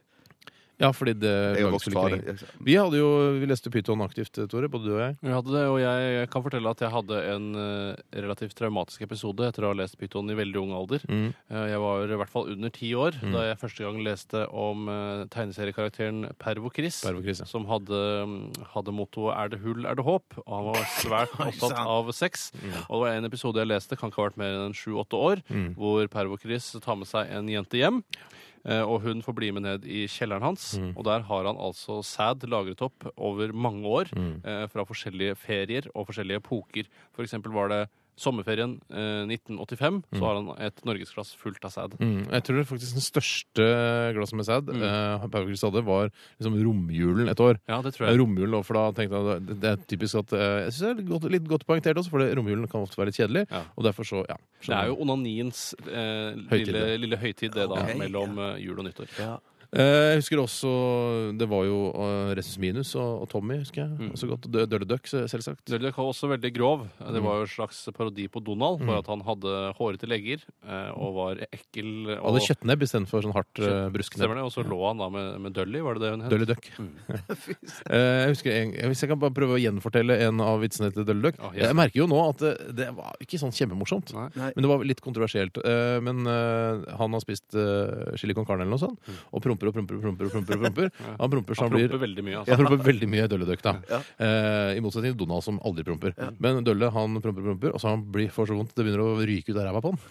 Ja, fordi det
Jeg har
lages
vokst
vel
fra
ikke
det.
lenger.
Jeg-
Vi, hadde jo, vi leste Pyton aktivt, Tore, både du og jeg.
Vi hadde det, og jeg kan fortelle at jeg hadde en eh, relativt traumatisk episode etter å ha lest Pyton i veldig ung alder.
Mm.
Eh, Jeg var i hvert fall under ti år da jeg første gang leste om eh, tegneseriekarakteren Pervo Chris.
Pervo Chris, ja.
Som hadde, mm, hadde mottoet 'Er det hull, er det håp'. Og han
<laughs>
var svært opptatt av sex.
Mm.
Og det var en episode jeg leste, kan ikke ha vært mer enn sju-åtte år, hvor Pervo Chris tar med seg en jente hjem. eh, Og hun får bli med ned i kjelleren hans.
Mm.
Og der har han altså sæd lagret opp
Mm.
over mange år eh, fra forskjellige ferier og forskjellige epoker. For eksempel var det
sommerferien eh, 1985
Mm.
så har han et norgesglass fullt av sæd.
Mm, jeg tror faktisk den største glasset med sæd mm. Paukrus hadde, var liksom romjulen et år.
Ja, det tror jeg.
Romjulen, og for da tenkte jeg det- Det er typisk at eh, Jeg syns det er litt godt, litt godt poengtert også, for det- romjulen kan ofte være litt kjedelig. Og derfor så, ja.
Det er jo onaniens eh,
Høytid,
lille, lille høytid, det da,
Ok,
mellom eh, jul og nyttår.
Eh, Jeg husker også Det var jo eh, Ressus Minus og, og Tommy, husker jeg. Også godt. Dø- Dirty Duck, se- selvsagt.
Dirty Duck var også veldig grov. Det
Mm.
var jo en slags parodi på Donald,
Mm.
for at han hadde hårete legger eh, og var ekkel. Og
Hadde kjøttnebb istedenfor sånn hardt uh, brusknebb.
Stemmer det, Og så lå han da med, med Dully, var det det hun het?
Dully
<laughs>
Duck. <laughs>
Mm.
Eh, jeg husker en, Hvis jeg kan bare prøve å gjenfortelle en av vitsene til Dully Duck Jeg merker jo nå at det, det var ikke sånn kjempemorsomt, men det var litt kontroversielt. Eh, men eh, han har spist eh, chili con carne eller noe
Mm.
sånt, og promper og promper og promper. og promper, og promper.
<laughs> Ja.
Han promper så
Han
han blir
promper veldig mye, altså.
Han promper veldig mye Dully Duck, da.
Ja.
Eh, I motsetning til Donald, som aldri promper. Men Dølle han promper promper, og så han blir får så vondt det begynner å ryke ut av ræva på han.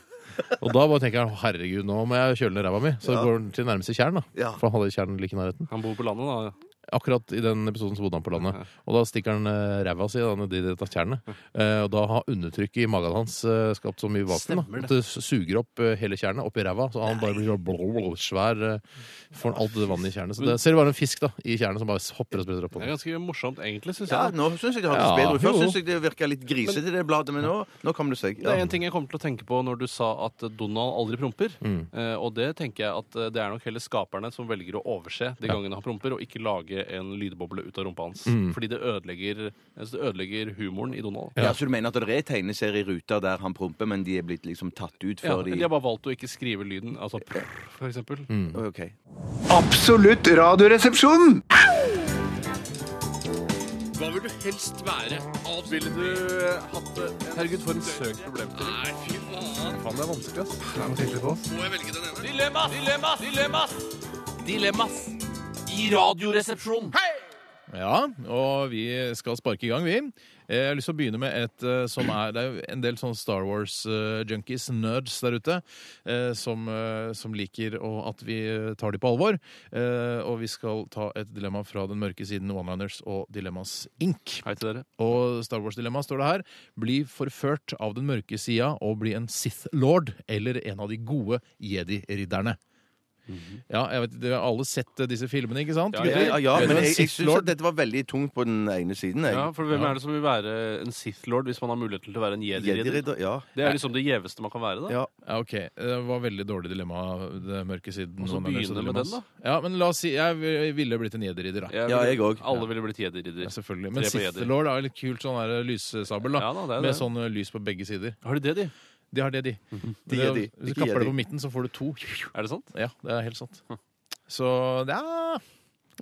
Og da bare tenker han herregud, nå må jeg kjøle ned ræva mi. Så
Ja.
går han til nærmeste tjern, da. For han hadde tjern like i nærheten.
Han bor på landet, da.
Akkurat i den episoden så bodde han på landet. Og da stikker han eh, ræva si da, nedi dette tjernet. Eh, og da har undertrykket i magen hans eh, skapt så mye vakuum da,
Stemmer det.
at det suger opp eh, hele tjernet opp i ræva. Så han bare blir sånn blå, blå, svær. eh, får han alt det vannet i tjernet. Så det ser du bare en fisk da, i tjernet som bare hopper og spretter opp.
Det er ganske morsomt, egentlig, syns
Ja,
jeg.
nå
synes
jeg det hørtes Ja, bedre ut. Først jo. synes
jeg det virka litt grisete, det bladet, men nå- nå kom det seg.
Det er en ting jeg kommer til å tenke på når du sa at Donald aldri promper.
Mm.
Eh, og det tenker jeg at eh, det er nok heller skaperne som velger å overse de
Ja.
gangene han promper, og ikke lage en lydboble ut av rumpa hans.
Mm.
Fordi det ødelegger, jeg synes det ødelegger humoren i Donald.
Ja, Så du mener at det er tegneserieruter der han promper, men de er blitt liksom tatt ut
Ja,
før
de
de
har bare valgt å ikke skrive lyden, altså prr, for eksempel.
Ok.
Absolutt radioresepsjon!
Hva vil du helst være? Ville du eh, hatt det? Herregud, for en søk problem til. Nei, fy faen.
Faen, det er vanskelig, ass.
Må jeg velge den ene? Dilemmas! Dilemmas! Dilemmas! Dilemmas i Radioresepsjonen.
Ja, og vi skal sparke i gang, vi. Eh, Jeg har lyst til å begynne med et eh, som er Det er jo en del sånne Star Wars-junkies, nerds der ute, eh, som, eh, som liker å, at vi eh, tar de på alvor. Eh, og vi skal ta et dilemma fra den mørke siden One-Liners og Dilemmas Inc.
Hei til dere.
Og Star Wars-dilemmaet står det her. Bli forført av den mørke sida og bli en Sith Lord eller en av de gode jedi-ridderne. Ja, jeg vet, Dere har alle sett eh, disse filmene, ikke sant?
Mhm. Ja,
gutter?
ja, ja,
Vet du
men
hva en
jeg, jeg
Sith
syns
Lord
at dette var veldig tungt på den ene siden. Jeg.
Ja, for Hvem er det som vil være en Sith-lord hvis man har mulighet til å være en jedi-ridder?
Jedi-ridder, ja.
Det er liksom det gjeveste man kan være. da.
Ja, ok. Det var veldig dårlig dilemma, det mørke siden.
Og så
Noen ganger
begynne med
dilemmas.
den,
Ja, men la oss si Jeg vi- ville blitt en jederidder, da.
Jeg ville- Alle ville blitt jedi-ridder.
Ja, selvfølgelig.
Tre
Men
på jedi.
Sithelord er jo litt kult sånn der lyssabel, da.
Ja da, det er
med
det.
sånn eh, lys på begge sider.
Har de det, de?
De har det, de.
Mhm. De
Det-
er de.
Hvis du
Ikke
kapper det
jedi.
på midten, så får du to.
Er det sant? Hm.
Ja, det er helt sant. Så det er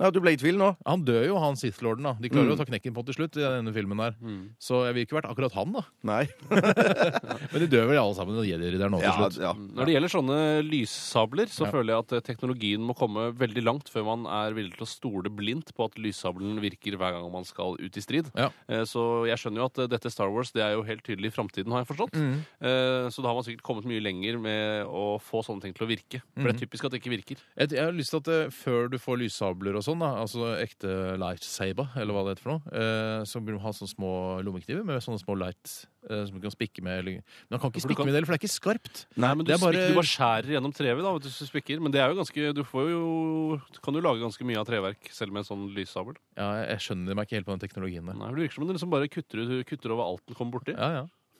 Ja, Du ble i tvil nå?
Han dør jo, han Sithelorden, da. De klarer jo
Mm.
å ta knekken på han til slutt i denne filmen der.
Mm.
Så jeg ville ikke vært akkurat han, da.
Nei.
<laughs> Men de dør vel alle sammen, og jedi-ridderen nå til
Ja,
slutt.
ja.
Mm, Når det gjelder sånne lyssabler, så
Ja.
føler jeg at eh, teknologien må komme veldig langt før man er villig til å stole blindt på at lyssabelen virker hver gang man skal ut i strid.
Ja.
Eh, Så jeg skjønner jo at eh, dette Star Wars det er jo helt tydelig i framtiden, har jeg forstått.
Mm.
Eh, Så da har man sikkert kommet mye lenger med å få sånne ting til å virke. For det
Mhm.
er typisk at det ikke virker.
Jeg, jeg har lyst til at eh, før du får lyssabler og sånn, da, altså ekte lightsaber, eller hva det heter for noe, eh, så burde du ha sånne små lommekniver med sånne små lights eh, som du kan spikke med. Eller, men man kan
Ja,
ikke
for du
spikke
kan-
med det, heller, for det er ikke skarpt.
Nei, men du,
det er
spikker, du bare skjærer gjennom trevet da, hvis du spikker. Men det er jo ganske, du får jo, kan jo lage ganske mye av treverk selv med en sånn lyssabel.
Ja, jeg, jeg skjønner meg ikke helt på den teknologien der.
Nei, for Det virker som om du liksom bare kutter, ut- kutter over alt den kommer borti.
Ja,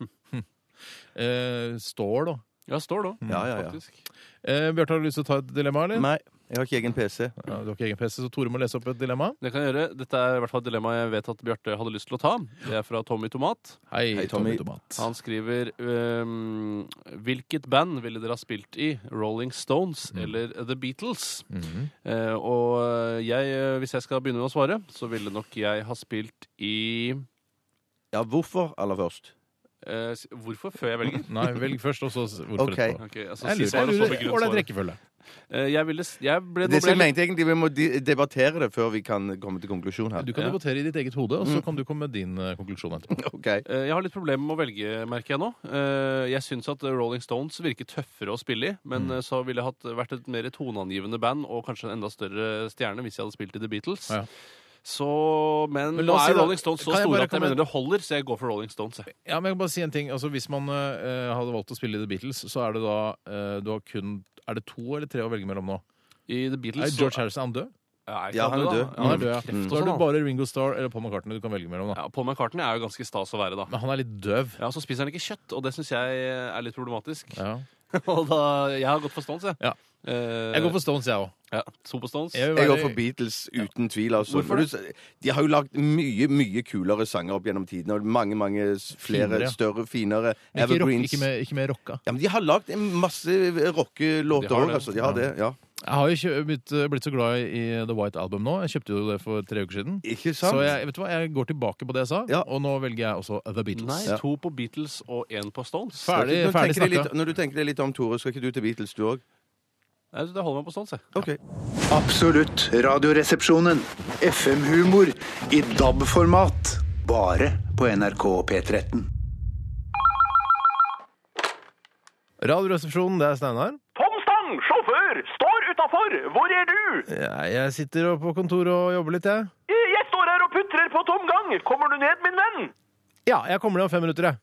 <laughs> ja. eh, stål, da. Mm.
Ja, stål òg.
Ja, ja, ja.
Eh, Bjarte, har du lyst til å ta et dilemma, eller?
Nei, jeg har ikke egen PC.
Ja, du har ikke egen PC, så Tore må lese opp et dilemma.
Det kan jeg gjøre. Dette er i hvert fall et dilemma jeg vet at Bjarte hadde lyst til å ta. Det er fra Tommy Tomat.
Hei, Hei, Tommy Tommy. Tomat.
Han skriver ehm, Hvilket band ville dere ha spilt i? Rolling Stones
Mm.
eller The Beatles?
Mm-hmm.
Eh, og jeg, eh, hvis jeg skal begynne med å svare, så ville nok jeg ha spilt i
Ja, hvorfor aller først?
eh, s- Hvorfor? Før jeg velger?
Nei, velg først, og så s- hvorfor
Ok.
etterpå.
Ok, altså,
jeg
si
lurer,
svaret,
jeg
så
lurer,
begrunn
ålreit
svaret.
rekkefølge.
Eh, jeg ville s- jeg ble, nå
Det som
ble
jeg
litt-
mente egentlig, Vi må de- debattere det før vi kan komme til konklusjon her.
Du kan debattere i ditt eget hode,
Mm.
og så kan du komme med din eh, konklusjon etterpå.
Eh, Jeg har litt problemer med å velge, merker jeg nå. Eh, Jeg syns at Rolling Stones virker tøffere å spille i, men
Mm.
eh, så ville jeg hatt, vært et mer toneangivende band og kanskje en enda større stjerne hvis jeg hadde spilt i The Beatles.
Ja.
Så, men,
Men la
nå
oss si
er
da-
Rolling Stones så
kan jeg
store
bare
at jeg
komme-
mener det holder, så jeg går for Rolling Stones. Jeg.
Ja, men jeg kan bare si en ting. Altså, hvis man eh, hadde valgt å spille i The Beatles, så er det da eh, Du har kun Er det to eller tre å velge mellom nå?
I The Beatles
Er George Harrison er han død?
Nei, ikke Ja, han er han er død, da. død.
Han er død, ja.
Mm. Kreft
Så
og sånn,
er det
han.
bare Ringo Starr eller Paul McCartney du kan velge mellom. da
Ja, Paul McCartney er jo ganske stas å være, da.
Men han er litt døv.
Ja, Så spiser han ikke kjøtt, og det syns jeg er litt problematisk.
Ja.
<laughs> og da, Jeg har gått for Stones, jeg. Eh,
Jeg går for Stones, jeg òg.
Ja, to på Stones.
Jeg går for Beatles uten tvil. Altså.
Hvorfor det?
For du- De har jo lagd mye mye kulere sanger opp gjennom tidene. og Mange mange s- flere
Finere, ja.
større, finere
Men ikke, rock,
evergreens.
ikke, med, ikke med rocka.
Ja, men de har lagd en masse rockelåter
De
òg,
har det.
altså. De har det, ja.
Jeg har jo kjø- blitt, blitt så glad i The White Album nå. Jeg kjøpte jo det for tre uker siden.
Ikke sant?
Så jeg, vet du hva, jeg går tilbake på det jeg sa, og nå velger jeg også The Beatles.
Nei, to på Beatles og én på Stones.
Ferdig-
Når du
ferdig
tenker deg
snakka.
litt- Når du tenker deg litt om, Tore, skal ikke du til Beatles, du òg?
Nei, Det holder meg på sånn, Stones, jeg.
Absolutt radioresepsjonen. FM-humor i DAB-format. Bare på NRK P13.
Radioresepsjonen, det er Steinar.
Tomstang, sjåfør, står utafor! Hvor er du?
jeg sitter på kontoret og jobber litt, jeg.
Eh, Jeg står her og putrer på tomgang. Kommer du ned, min venn?
Ja, jeg kommer ned om fem minutter, jeg.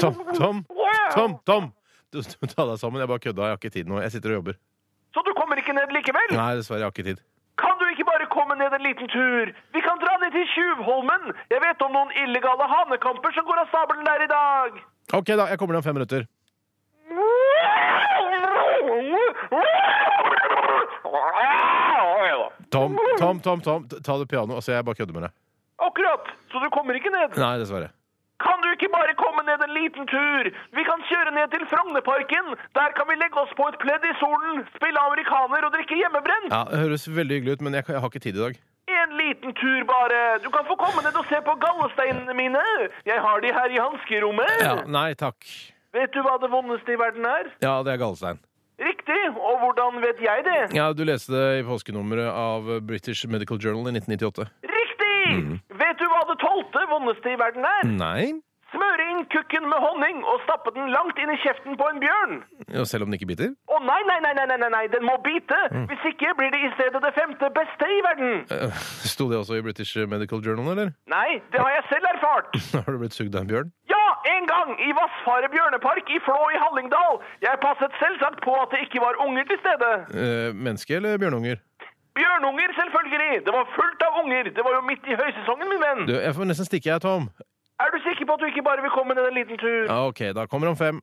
Tom, Tom, Tom, Tom! Du, du Ta deg sammen. Jeg bare kødda. Jeg har ikke tid nå. Jeg sitter og jobber.
Så du kommer ikke ned likevel?
Nei, dessverre. Jeg har ikke tid.
Kan du ikke bare komme ned en liten tur? Vi kan dra ned til Tjuvholmen. Jeg vet om noen illegale hanekamper som går av stabelen der i dag.
OK, da. Jeg kommer ned om fem minutter. Tom, Tom, Tom, Tom, ta det piano. Altså, jeg bare kødder med deg.
Akkurat. Så du kommer ikke ned?
Nei, dessverre.
Kan du ikke bare komme ned en liten tur? Vi kan kjøre ned til Frognerparken. Der kan vi legge oss på et pledd i solen, spille amerikaner og drikke hjemmebrent.
Ja, Det høres veldig hyggelig ut, men jeg, jeg har ikke tid i dag.
En liten tur bare. Du kan få komme ned og se på gallesteinene mine. Jeg har de her i hanskerommet.
Ja, nei takk.
Vet du hva det vondeste i verden er?
Ja, det er gallestein.
Riktig. Og hvordan vet jeg det?
Ja, Du leste det i påskenummeret av British Medical Journal i 1998.
Riktig!
Mm.
Vet du hva det tolvte vondeste i verden er?
Nei.
Smøre inn kukken med honning og stappe den langt inn i kjeften på en bjørn.
Ja, selv om den ikke biter?
Å nei, nei, nei, nei, nei, nei, nei, den må bite! Hvis ikke blir det i stedet det femte beste i verden.
Mm. Eh, <laughs> Sto det også i British Medical Journal, eller? <laughs>
Nei, det har jeg selv erfart.
Har du blitt sugd av en bjørn?
Ja, en gang i Vassfare bjørnepark i Flå i Hallingdal. Jeg passet selvsagt på at det ikke var unger til stede.
Eh, menneske eller bjørnunger?
Bjørnunger, selvfølgelig. Det var fullt av unger. Det var jo midt i høysesongen, min venn.
Du, jeg får nesten stikke, jeg, Tom.
Er du sikker på at du ikke bare vil komme ned en liten tur? <laughs>
Ja, OK, da kommer han fem.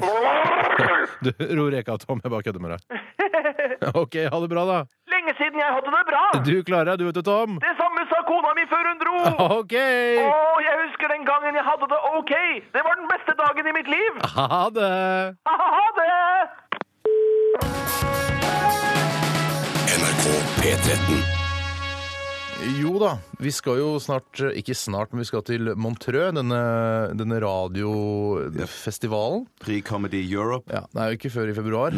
Du, ro reka, Tom. Jeg bare kødder med deg. OK, ha det bra, da.
Lenge siden jeg hadde det bra.
Du klarer deg, du, vet du, Tom.
Det samme sa kona mi før hun dro.
OK!
Å, jeg husker den gangen jeg hadde det OK. Det var den beste dagen i mitt liv. <laughs>
Ha det!
Ha det!
NRK P13.
Jo da, vi skal jo snart, ikke snart, men vi skal til Montreux, denne, denne radiofestivalen.
Prix Comedy Europe.
Ja, det er jo ikke før i februar,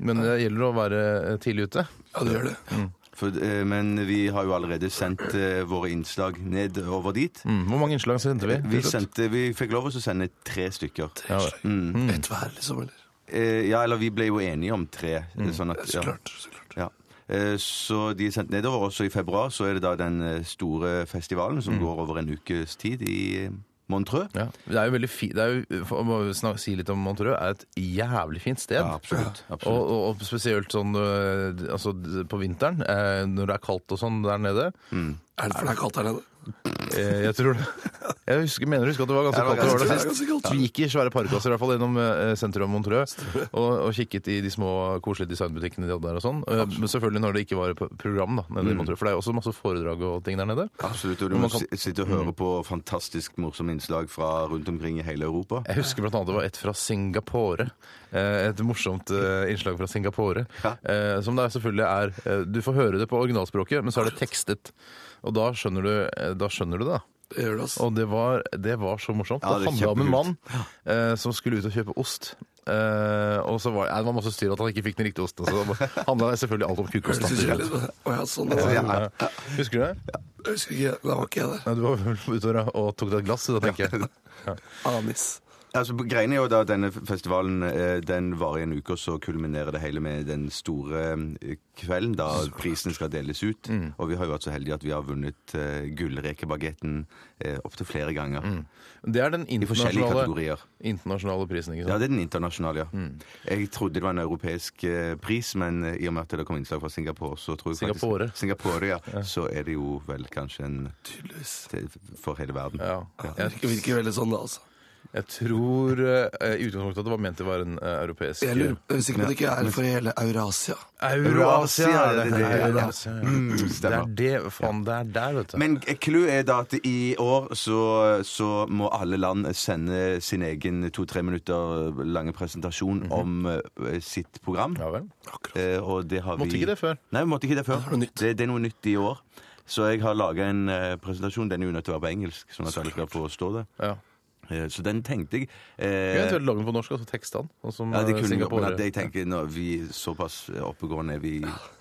men det gjelder å være eh, tidlig ute. Mm.
Ja, det gjør det. For, eh, men vi har jo allerede sendt eh, våre innslag ned over dit.
Mm, hvor mange innslag sendte vi?
Vi, sendte, vi fikk lov til å sende tre stykker.
Ja,
Mm.
Ett hver, liksom, eller?
Eh, ja, eller vi ble jo enige om tre.
Mm.
Sånn at, ja. Ja. Eh, Så de er sendt nedover. Også i februar så er det da den eh, store festivalen som går over en ukes tid i eh, Montreux.
Mm. Ja. Det er jo veldig fi, det er jo, for å bare snak- si litt om Montreux, er et jævlig fint sted.
Ja, absolutt.
Ja.
Absolutt.
Og, og, og spesielt sånn øh, altså, d- på vinteren, eh, når det er kaldt og sånn der nede.
Er det fordi det er kaldt der nede?
Eh, Jeg tror det. Jeg husker, mener du husker at det var ganske
Ja, det var
kaldt det var
ganske-
der
det var ganske
sist.
kaldt.
Vi gikk i svære parkgasser, i hvert fall gjennom eh, sentrum av Montreux, og, og kikket i de små koselige designbutikkene de hadde der og sånn. Eh, Men selvfølgelig når det ikke var på program da, nede i
Mm.
Montreux, for det er jo også masse foredrag og ting der nede.
Absolutt. Og du
Men
må
man kan- Mm.
si- sitte og høre på fantastisk morsomme innslag fra rundt omkring i hele Europa.
Jeg husker blant annet det var et fra Singapore. Eh, Et morsomt eh, innslag fra Singapore. eh, Som det er selvfølgelig er eh, Du får høre det på originalspråket, men så er det tekstet. Og da skjønner du, eh, da skjønner du det, da.
Det gjør det, ass.
Og det var, det var så morsomt.
Ja,
det
det er
handla om en mann
kjempekult.
eh, som skulle ut og kjøpe ost. Eh, og så var, nei, det var masse styr at han ikke fikk den riktige osten. Så det <laughs> handla selvfølgelig alt om kukost.
Høres ikke litt- Å ja, sånn, altså.
Husker du det?
Jeg husker ikke, da var ikke jeg der.
<laughs>
Nei, du var vel ute og og tok deg et glass, da tenker jeg. Ja.
Anis.
Altså, greiene er jo da at denne festivalen eh, den varer i en uke, og så kulminerer det hele med den store eh, kvelden da prisen skal deles ut.
Mm.
Og vi har jo vært så heldige at vi har vunnet eh, Gullrekebagetten eh, opptil flere ganger.
Mm. Det er den
I forskjellige
internasjonale,
kategorier.
internasjonale prisen, ikke sant?
Ja, det er den internasjonale, ja. Jeg trodde det var en europeisk eh, pris, men eh, i og med at det kom innslag fra Singapore, så tror jeg
Singapore.
faktisk Singapore, ja. Så er det jo vel kanskje en det- For hele verden.
Ja.
Ja.
Det virker veldig sånn, det, altså.
Jeg tror eh, i utgangspunktet at det var ment til å være en eh, europeisk
Jeg lurer jeg er sikker på at det ikke er for hele Eurasia.
Euroasia er det.
det, det, det.
Euroasia, ja.
Mm,
Det
stemmer.
er det, faen, det er der, vet du.
Men clou er da at i år så, så må alle land sende sin egen to-tre minutter lange presentasjon om eh, sitt program. Ja
Mhm. vel.
Eh, og det har
Måtte
vi...
ikke det før.
Nei, vi måtte ikke det før. Det er noe nytt, det, er noe nytt i år. Så jeg har laga en eh, presentasjon. Den er jo nødt til å være på engelsk, sånn at alle skal forstå det.
Ja.
Eh, så den tenkte jeg
Vi
eh,
kan eventuelt lage den på norsk, altså tekste den. sånn som
ja, det
eh,
kunne gått,
Singapore-
men at jeg tenker når vi såpass oppegående er vi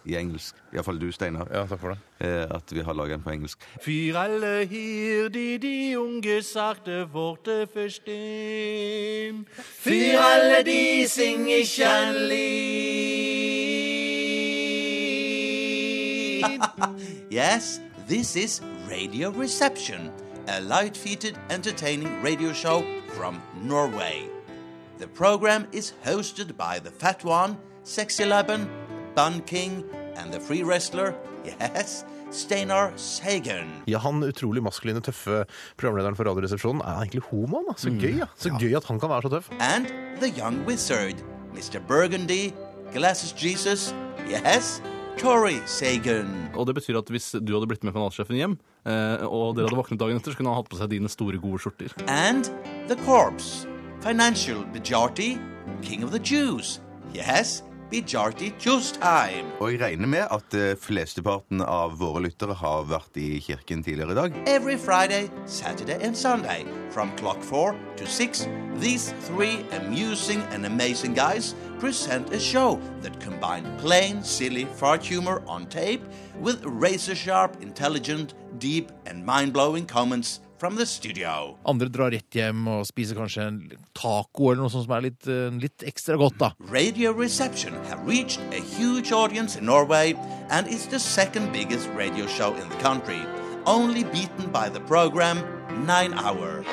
i engelsk, iallfall du, Steinar, Eh,
ja, takk for det.
at vi har laga en på engelsk.
Fyr alle hirdig de unge sakte vorte forstim. Fyr alle de sing ikke en lin.
<laughs> Yes, this is Radio Reception, a light featured entertaining radio show from Norway. The program is hosted by the Fat One, Sexy Laban, Bun King, and the free wrestler, <laughs> yes, Steinar Sagen.
Ja, Han utrolig maskuline, tøffe programlederen for Radioresepsjonen er egentlig homo. Da.
Mm.
Så gøy ja. Så gøy at han kan være så tøff.
and the young wizard, Mr. Burgundy, Glasses Jesus, yes, Tori Sagan.
Og det betyr at hvis du hadde blitt med kanalsjefen hjem, eh, og dere hadde våknet dagen etter, så kunne han hatt på seg dine store, gode skjorter.
And the corpse, financial Bijarti, king of the Jews, yes, Bijarti Jews time.
Og jeg regner med at eh, flesteparten av våre lyttere har vært i kirken tidligere i dag.
Every Friday, Saturday, and Sunday, from clock 4 to 6, these three amusing and amazing guys present a show that combined plain, silly fart humor on tape with razor sharp, intelligent, deep, and mind blowing comments from the studio.
Andre drar rett hjem og spiser kanskje en taco eller noe sånt som er litt, eh, litt ekstra godt, da.
Radio Reception have reached a huge audience in Norway and is the second biggest radio show in the country, only beaten by the program 9 Hour.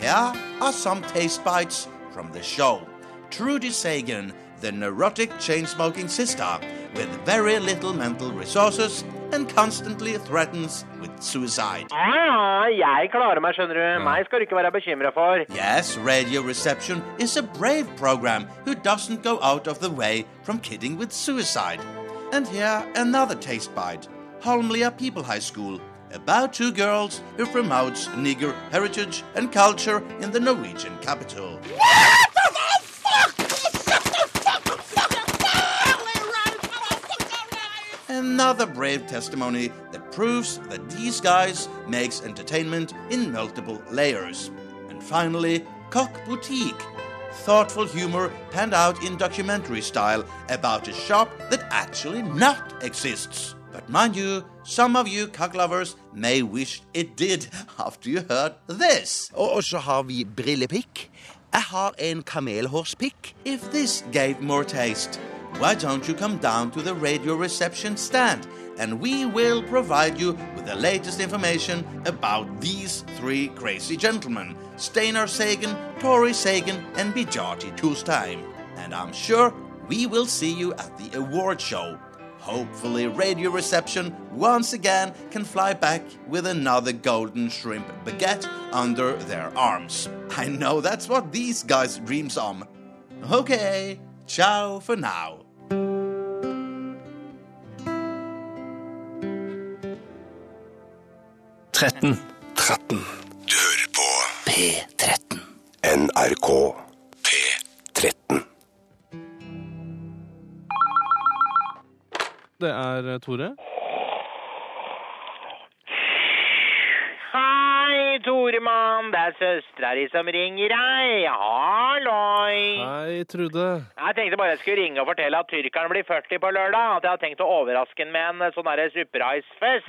Here are some taste bites from the show. Trudy Sagan, the neurotic chain smoking sister, with very little mental resources and constantly threatens with suicide.
Ja, Ah, jeg klarer meg, skjønner du. Meg skal du ikke være bekymra for.
Yes, Radio Reception is a brave program who doesn't go out of the way from kidding with suicide. And here another taste bite. Holmlia People High School, about two girls who promotes Negro heritage and culture in the Norwegian capital. Another brave testimony that proves that these guys makes entertainment in multiple layers. And finally, Cock Boutique. Thoughtful humor panned out in documentary style about a shop that actually not exists. But mind you, some of you cock lovers may wish it did <laughs> after you heard this. Og, og så har vi brillepikk. Jeg har en kamelhårspikk. If this gave more taste, why don't you come down to the radio reception stand and we will provide you with the latest information about these three crazy gentlemen Steinar Sagan, Tori Sagan, and Bijati Toolstime. And I'm sure we will see you at the award show. Hopefully, Radio Reception once again can fly back with another golden shrimp baguette under their arms. I know that's what these guys' dreams on. Okay, ciao for now.
Du hører på P13. NRK P13.
Det er eh, Tore.
Hei, Toremann. Det er søstera di som ringer deg. Halloi.
Hei, Trude.
Jeg tenkte bare jeg skulle ringe og fortelle eh, at tyrkeren blir 40 på lørdag. At jeg har tenkt å overraske ham med en sånn derre surprise-fest.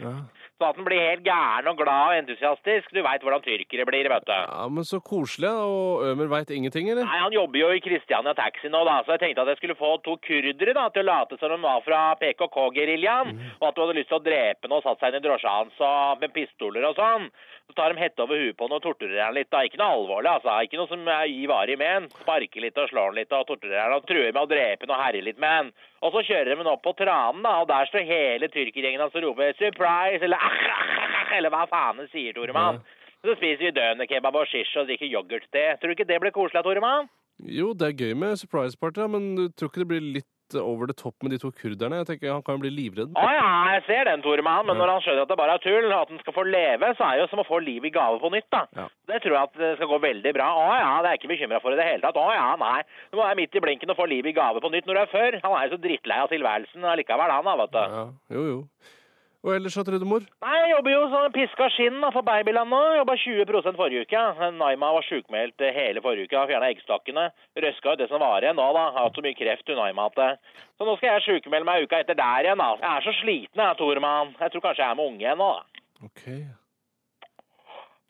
staten blir helt gæren og glad og entusiastisk. Du veit hvordan tyrkere blir, vet du.
Ja, men så koselig. da. Og Ømer veit ingenting, eller?
Nei, Han jobber jo i Kristiania Taxi nå, da, så jeg tenkte at jeg skulle få to kurdere da, til å late som de var fra PKK-geriljaen, og at de hadde lyst til å drepe ham og satt seg inn i drosja hans og- med pistoler og sånn. Så tar de hette over huet på han og torturerer han litt. da. Ikke noe alvorlig, altså. Ikke noe som eh, gir varig men. Sparker litt og slår han litt og torturerer han og truer med å drepe han og herjer litt med han. Og så kjører de han opp på tranen, da, og der står hele tyrkergjengen hans og roper 'surprise' eller «Ah, ah, ah, ah», eller hva faen de sier, Toremann. Så spiser vi dønerkebab og shish og drikker yoghurtte. Tror du ikke det blir koselig, Toremann?
Jo, det er gøy med surprise party, da, men du tror ikke det blir litt over the top med de to kurderne? Jeg tenker Han kan jo bli livredd.
Å ja, jeg ser den, Toremann. Men når han skjønner at det bare er tull, og at han skal få leve, så er det jo som å få livet i gave på nytt, da.
Ja.
Det tror jeg at det skal gå veldig bra. Å ja, det er jeg ikke bekymra for i det hele tatt. Å ja, nei. Du må være midt i blinken og få livet i gave på nytt når du er før. Han er jo så drittlei av tilværelsen allikevel, han da, vet du.
Jo, jo. Og ellers, da, Trudemor?
Nei, jeg jobber jo sånn piska skinn da, for babyland nå. Jobba 20 forrige uke. Naima var sjukmeldt eh, hele forrige uke. Fjerna eggstokkene. Røska ut det som var igjen nå, da. Har hatt så mye kreft, hun Naima, at det. Så nå skal jeg sjukmelde meg uka etter der igjen, da. Jeg er så sliten, jeg, Tormann. Jeg tror kanskje jeg er med unge igjen nå, da.
Ok.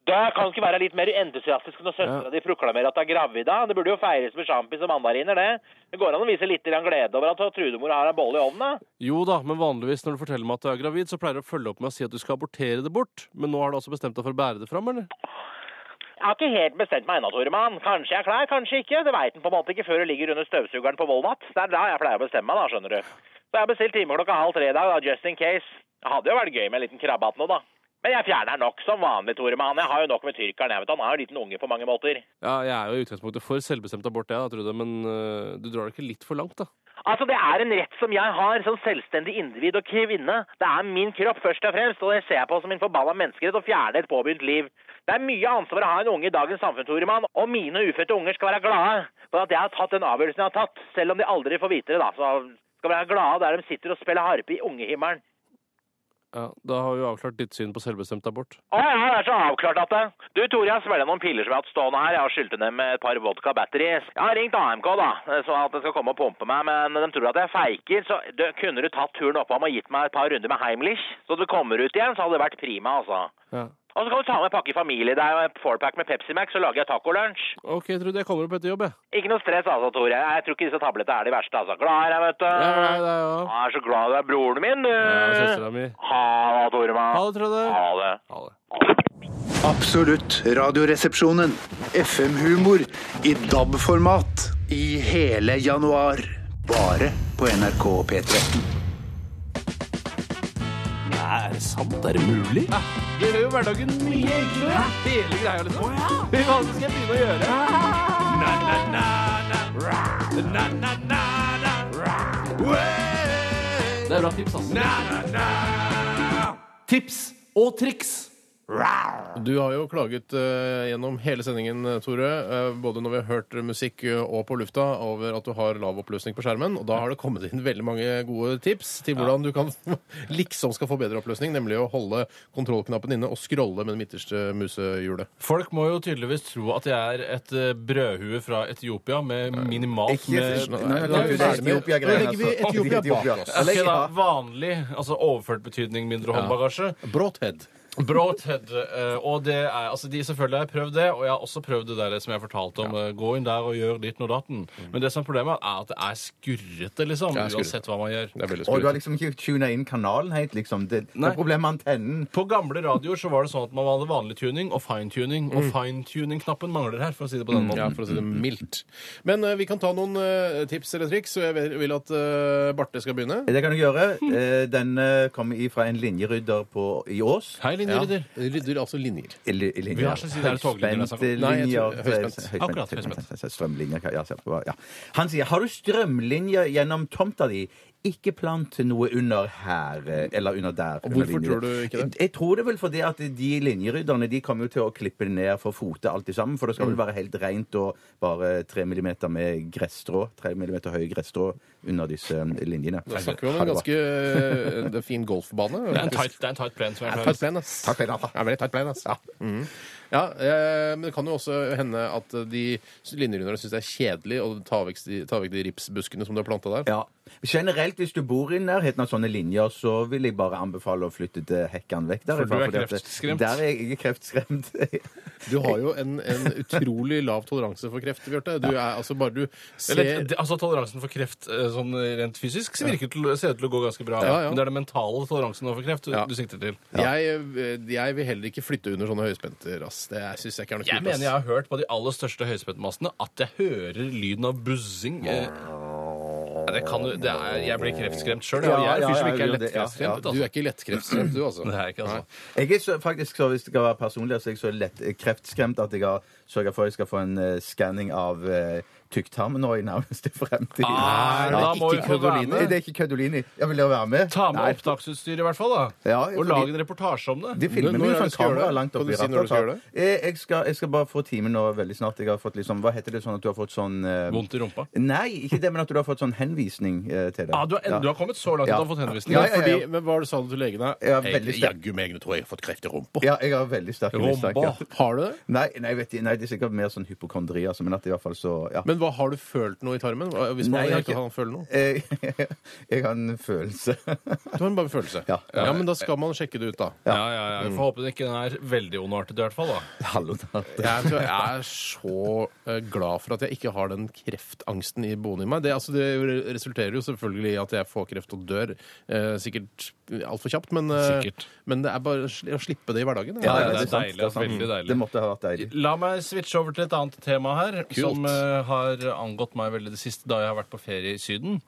Du kan du ikke være litt mer entusiastisk når søstera di proklamerer at du er gravid. da. Det burde jo feires med sjampis og mandariner, det. Det går an å vise litt grann glede over at Trudemor har en bolle i ovnen, da.
Jo da, men vanligvis når du forteller meg at du er gravid, så pleier du å følge opp med å si at du skal abortere det bort. Men nå har du altså bestemt deg for å bære det fram, eller?
Jeg har ikke helt bestemt meg ennå, Toremann. Kanskje jeg er klar, kanskje ikke. Det veit en på en måte ikke før du ligger under støvsugeren på Volmat. Det er da jeg pleier å bestemme meg, da, skjønner du. Så jeg har bestilt time klokka halv tre i dag, da, just in case. Det hadde jo vært gøy med en liten krabbehatt nå, da. Men jeg fjerner den nok som vanlig, Toremann. Jeg har jo nok med tyrkeren, jeg vet du. Han er jo en liten unge på mange måter.
Ja, jeg er jo i utgangspunktet for selvbestemt abort, jeg, da, Trude, men øh, du drar det ikke litt for langt, da?
Altså, det er en rett som jeg har som selvstendig individ og kvinne. Det er min kropp først og fremst, og det ser jeg på som min forbanna menneskerett å fjerne et påbegynt liv. Det er mye ansvar å ha en unge i dagens samfunn, Toremann, og mine ufødte unger skal være glade for at jeg har tatt den avgjørelsen jeg har tatt, selv om de aldri får vite det, da. Så skal være glade der de sitter og spiller harpe i ungehimmelen.
Ja, Da har vi jo avklart ditt syn på selvbestemt abort.
Å ja, det er så avklart at det. Du, Tore, jeg har svelget noen piller som jeg har hatt stående her. Jeg har skylt ned med et par vodka batteries. Jeg har ringt AMK, da, så at de skal komme og pumpe meg, men de tror at jeg feiker. Så du, kunne du tatt turen oppom og gitt meg et par runder med Heimlich, så du kommer ut igjen, så hadde det vært prima, altså.
Ja.
Og så kan du ta med en pakke familie deg og en fourpack med Pepsi Max, så lager jeg tacolunsj.
OK, Trude, jeg kommer opp etter jobb, jeg.
Ikke noe stress, altså, Tore. Jeg tror ikke disse tablettene er de verste, altså. Glad er jeg, vet du.
Ja, ja, ja, ja.
Jeg er så glad du er broren min, du.
Ja, søstera mi.
Ha det, Toremann.
Ha det, Trude.
Ha det.
Absolutt radioresepsjonen. FM-humor i DAB-format i hele januar. Bare på NRK P13.
Nei, er det sant? Er det mulig?
Det gjør jo hverdagen mye enklere. Hele greia, liksom. Hva skal jeg begynne å gjøre? Det er bra tips, altså. ass.
Tips og triks. Du har jo klaget eh, gjennom hele sendingen, Tore, eh, både når vi har hørt musikk eh, og på lufta, over at du har lav oppløsning på skjermen. Og da har det kommet inn veldig mange gode tips til hvordan du kan liksom skal få bedre oppløsning, nemlig å holde kontrollknappen inne og scrolle med det midterste musehjulet.
Folk må jo tydeligvis tro at jeg er et eh, brødhue fra Etiopia med minimalt
Ikke- sånn.
med
Nei, nei, nei, det er Etiopia-greiene,
Da legger vi
altså.
Etiopia
Etiopia.
bak oss.
Da legger-
Ok, da. Vanlig, altså overført betydning, mindre
Ja.
håndbagasje.
Bråthed.
Bråthed. eh, Og det er, altså de, selvfølgelig har jeg prøvd det, og jeg har også prøvd det der som jeg fortalte om. eh, Gå inn der og gjør ditt og datten.
Mm.
Men det som er problemet, er at det er skurrete, liksom.
Det er skurrete.
Uansett hva man gjør.
Og du har liksom ikke tuna inn kanalen helt, liksom. Det, det er problemet med antennen.
På gamle radioer så var det sånn at man hadde vanlig tuning og fine-tuning. Og fine-tuning-knappen mangler her, for å si det på den
Mm.
måten.
Ja, for å si det mildt. Men eh, vi kan ta noen eh, tips eller triks, og jeg vil- vil at eh, Barte skal begynne.
Det kan du gjøre.
<laughs>
Eh, Den eh, kommer ifra en linjerydder på, i Ås.
Hei,
linjerydder. Rydder altså linjer.
linjer.
Vi har ikke siden det er toglinjer, altså.
Høyspente
Nei, jeg
linjer.
tror- høyspent. Akkurat,
høyspent. Strømlinjer. Ja, se på- ja. Han sier har du strømlinjer gjennom tomta di, ikke plant noe under her eh, eller under der.
Og
under
hvorfor
linjer.
tror du ikke det?
Jeg tror det vel fordi at de linjerydderne de kommer jo til å klippe det ned for fote alt i sammen, for det skal
Mm.
vel være helt rent og bare tre millimeter med gresstrå, tre millimeter høy gresstrå under disse eh, linjene.
Da snakker vi om en ganske eh, det er fin golfbane.
Det er en tight, det er en tight plan. Som
Det
jeg
er
pleier å
tight
si.
plan, ass. Det er veldig tight plan, ass. Ja. Mm. Ja, eh, men det kan jo også hende at de linjerydderne syns det er kjedelig å ta vekk de, ta vekk de ripsbuskene som du har planta der.
Generelt, hvis du bor i nærheten av sånne linjer, så vil jeg bare anbefale å flytte til Hekkan vekk derifra.
For du er
fordi at-
kreftskremt.
Der er jeg- jeg er kreftskremt.
Du har jo en, en utrolig lav toleranse for kreft, Bjarte. Du er altså bare du ser
Eller, det- altså Toleransen for kreft eh, sånn rent fysisk så virker til, ser ut til å gå ganske bra.
Ja, ja.
Men det er den mentale toleransen overfor kreft du,
Ja.
du sikter til.
jeg, eh, jeg vil heller ikke flytte under sånne høyspente rass. Det syns jeg ikke er noe
Jeg
kult.
mener jeg har hørt på de aller største høyspentmastene at jeg hører lyden av buzzing. eh. Nei, Det kan, jo- det er, jeg blir kreftskremt sjøl. Jeg er en fyr som ikke er Altså, lettkreftskremt.
Du er ikke lettkreftskremt, du, altså.
Nei, ikke altså.
Jeg er så, faktisk, så hvis jeg skal være personlig, så er jeg så lett eh, kreftskremt at jeg har sørga for at jeg skal få en eh, skanning av uh, tykktarmen nå i nærmeste fremtid. Ja.
Ah, da må vi få være med.
Det er ikke Kødolini. Jeg vil jo være med.
Ta med
Nei.
opptaksutstyr i hvert fall, da.
Ja, fordi-
og lag en reportasje om det.
De filmer med sånn kamera langt opp i rattet.
det?
Eh, Jeg skal, jeg skal bare få timen nå veldig snart. Jeg har fått liksom, Hva heter det sånn at du har fått sånn eh,
Vondt i rumpa?
Nei, ikke det, men at du har fått sånn henvisning eh, til det.
Ah, du, er,
Ja.
du har kommet så langt at
Ja.
du har fått henvisning.
Ja, ja, ja, ja.
Fordi-
Men hva sa du til legen?
Jeg er veldig sterk.
Jaggu meg, nå tror jeg jeg har fått kreft i rumpa.
Ja, jeg har veldig sterk mistanke.
Har du det?
Nei, nei, vet, du, nei, det er sikkert mer sånn hypokondri, altså, men at i hvert fall så ja.
Men hva har du følt noe i tarmen? Hva- Hvis man
Nei, jeg
ikke
har
kan føle noe?
Eh, <laughs> jeg har en følelse.
Du har en bare en følelse?
Ja.
ja, men da skal man sjekke det ut, da. Mm.
Ja, ja, ja. Vi får håpe det ikke er veldig ondartet i hvert fall, da.
Mm. Hallo,
Jeg, tror jeg er så eh, glad for at jeg ikke har den kreftangsten i boende i meg. Det, altså, det re- resulterer jo selvfølgelig i at jeg får kreft og dør. eh, sikkert altfor kjapt, men, eh,
Sikkert.
men det er bare å sli- å slippe det i hverdagen.
Ja, ja, det er deilig, altså, veldig deilig.
Det måtte ha vært deilig.
La meg switche over til et annet tema her, som eh, har angått meg veldig det siste da jeg har vært på ferie i Syden.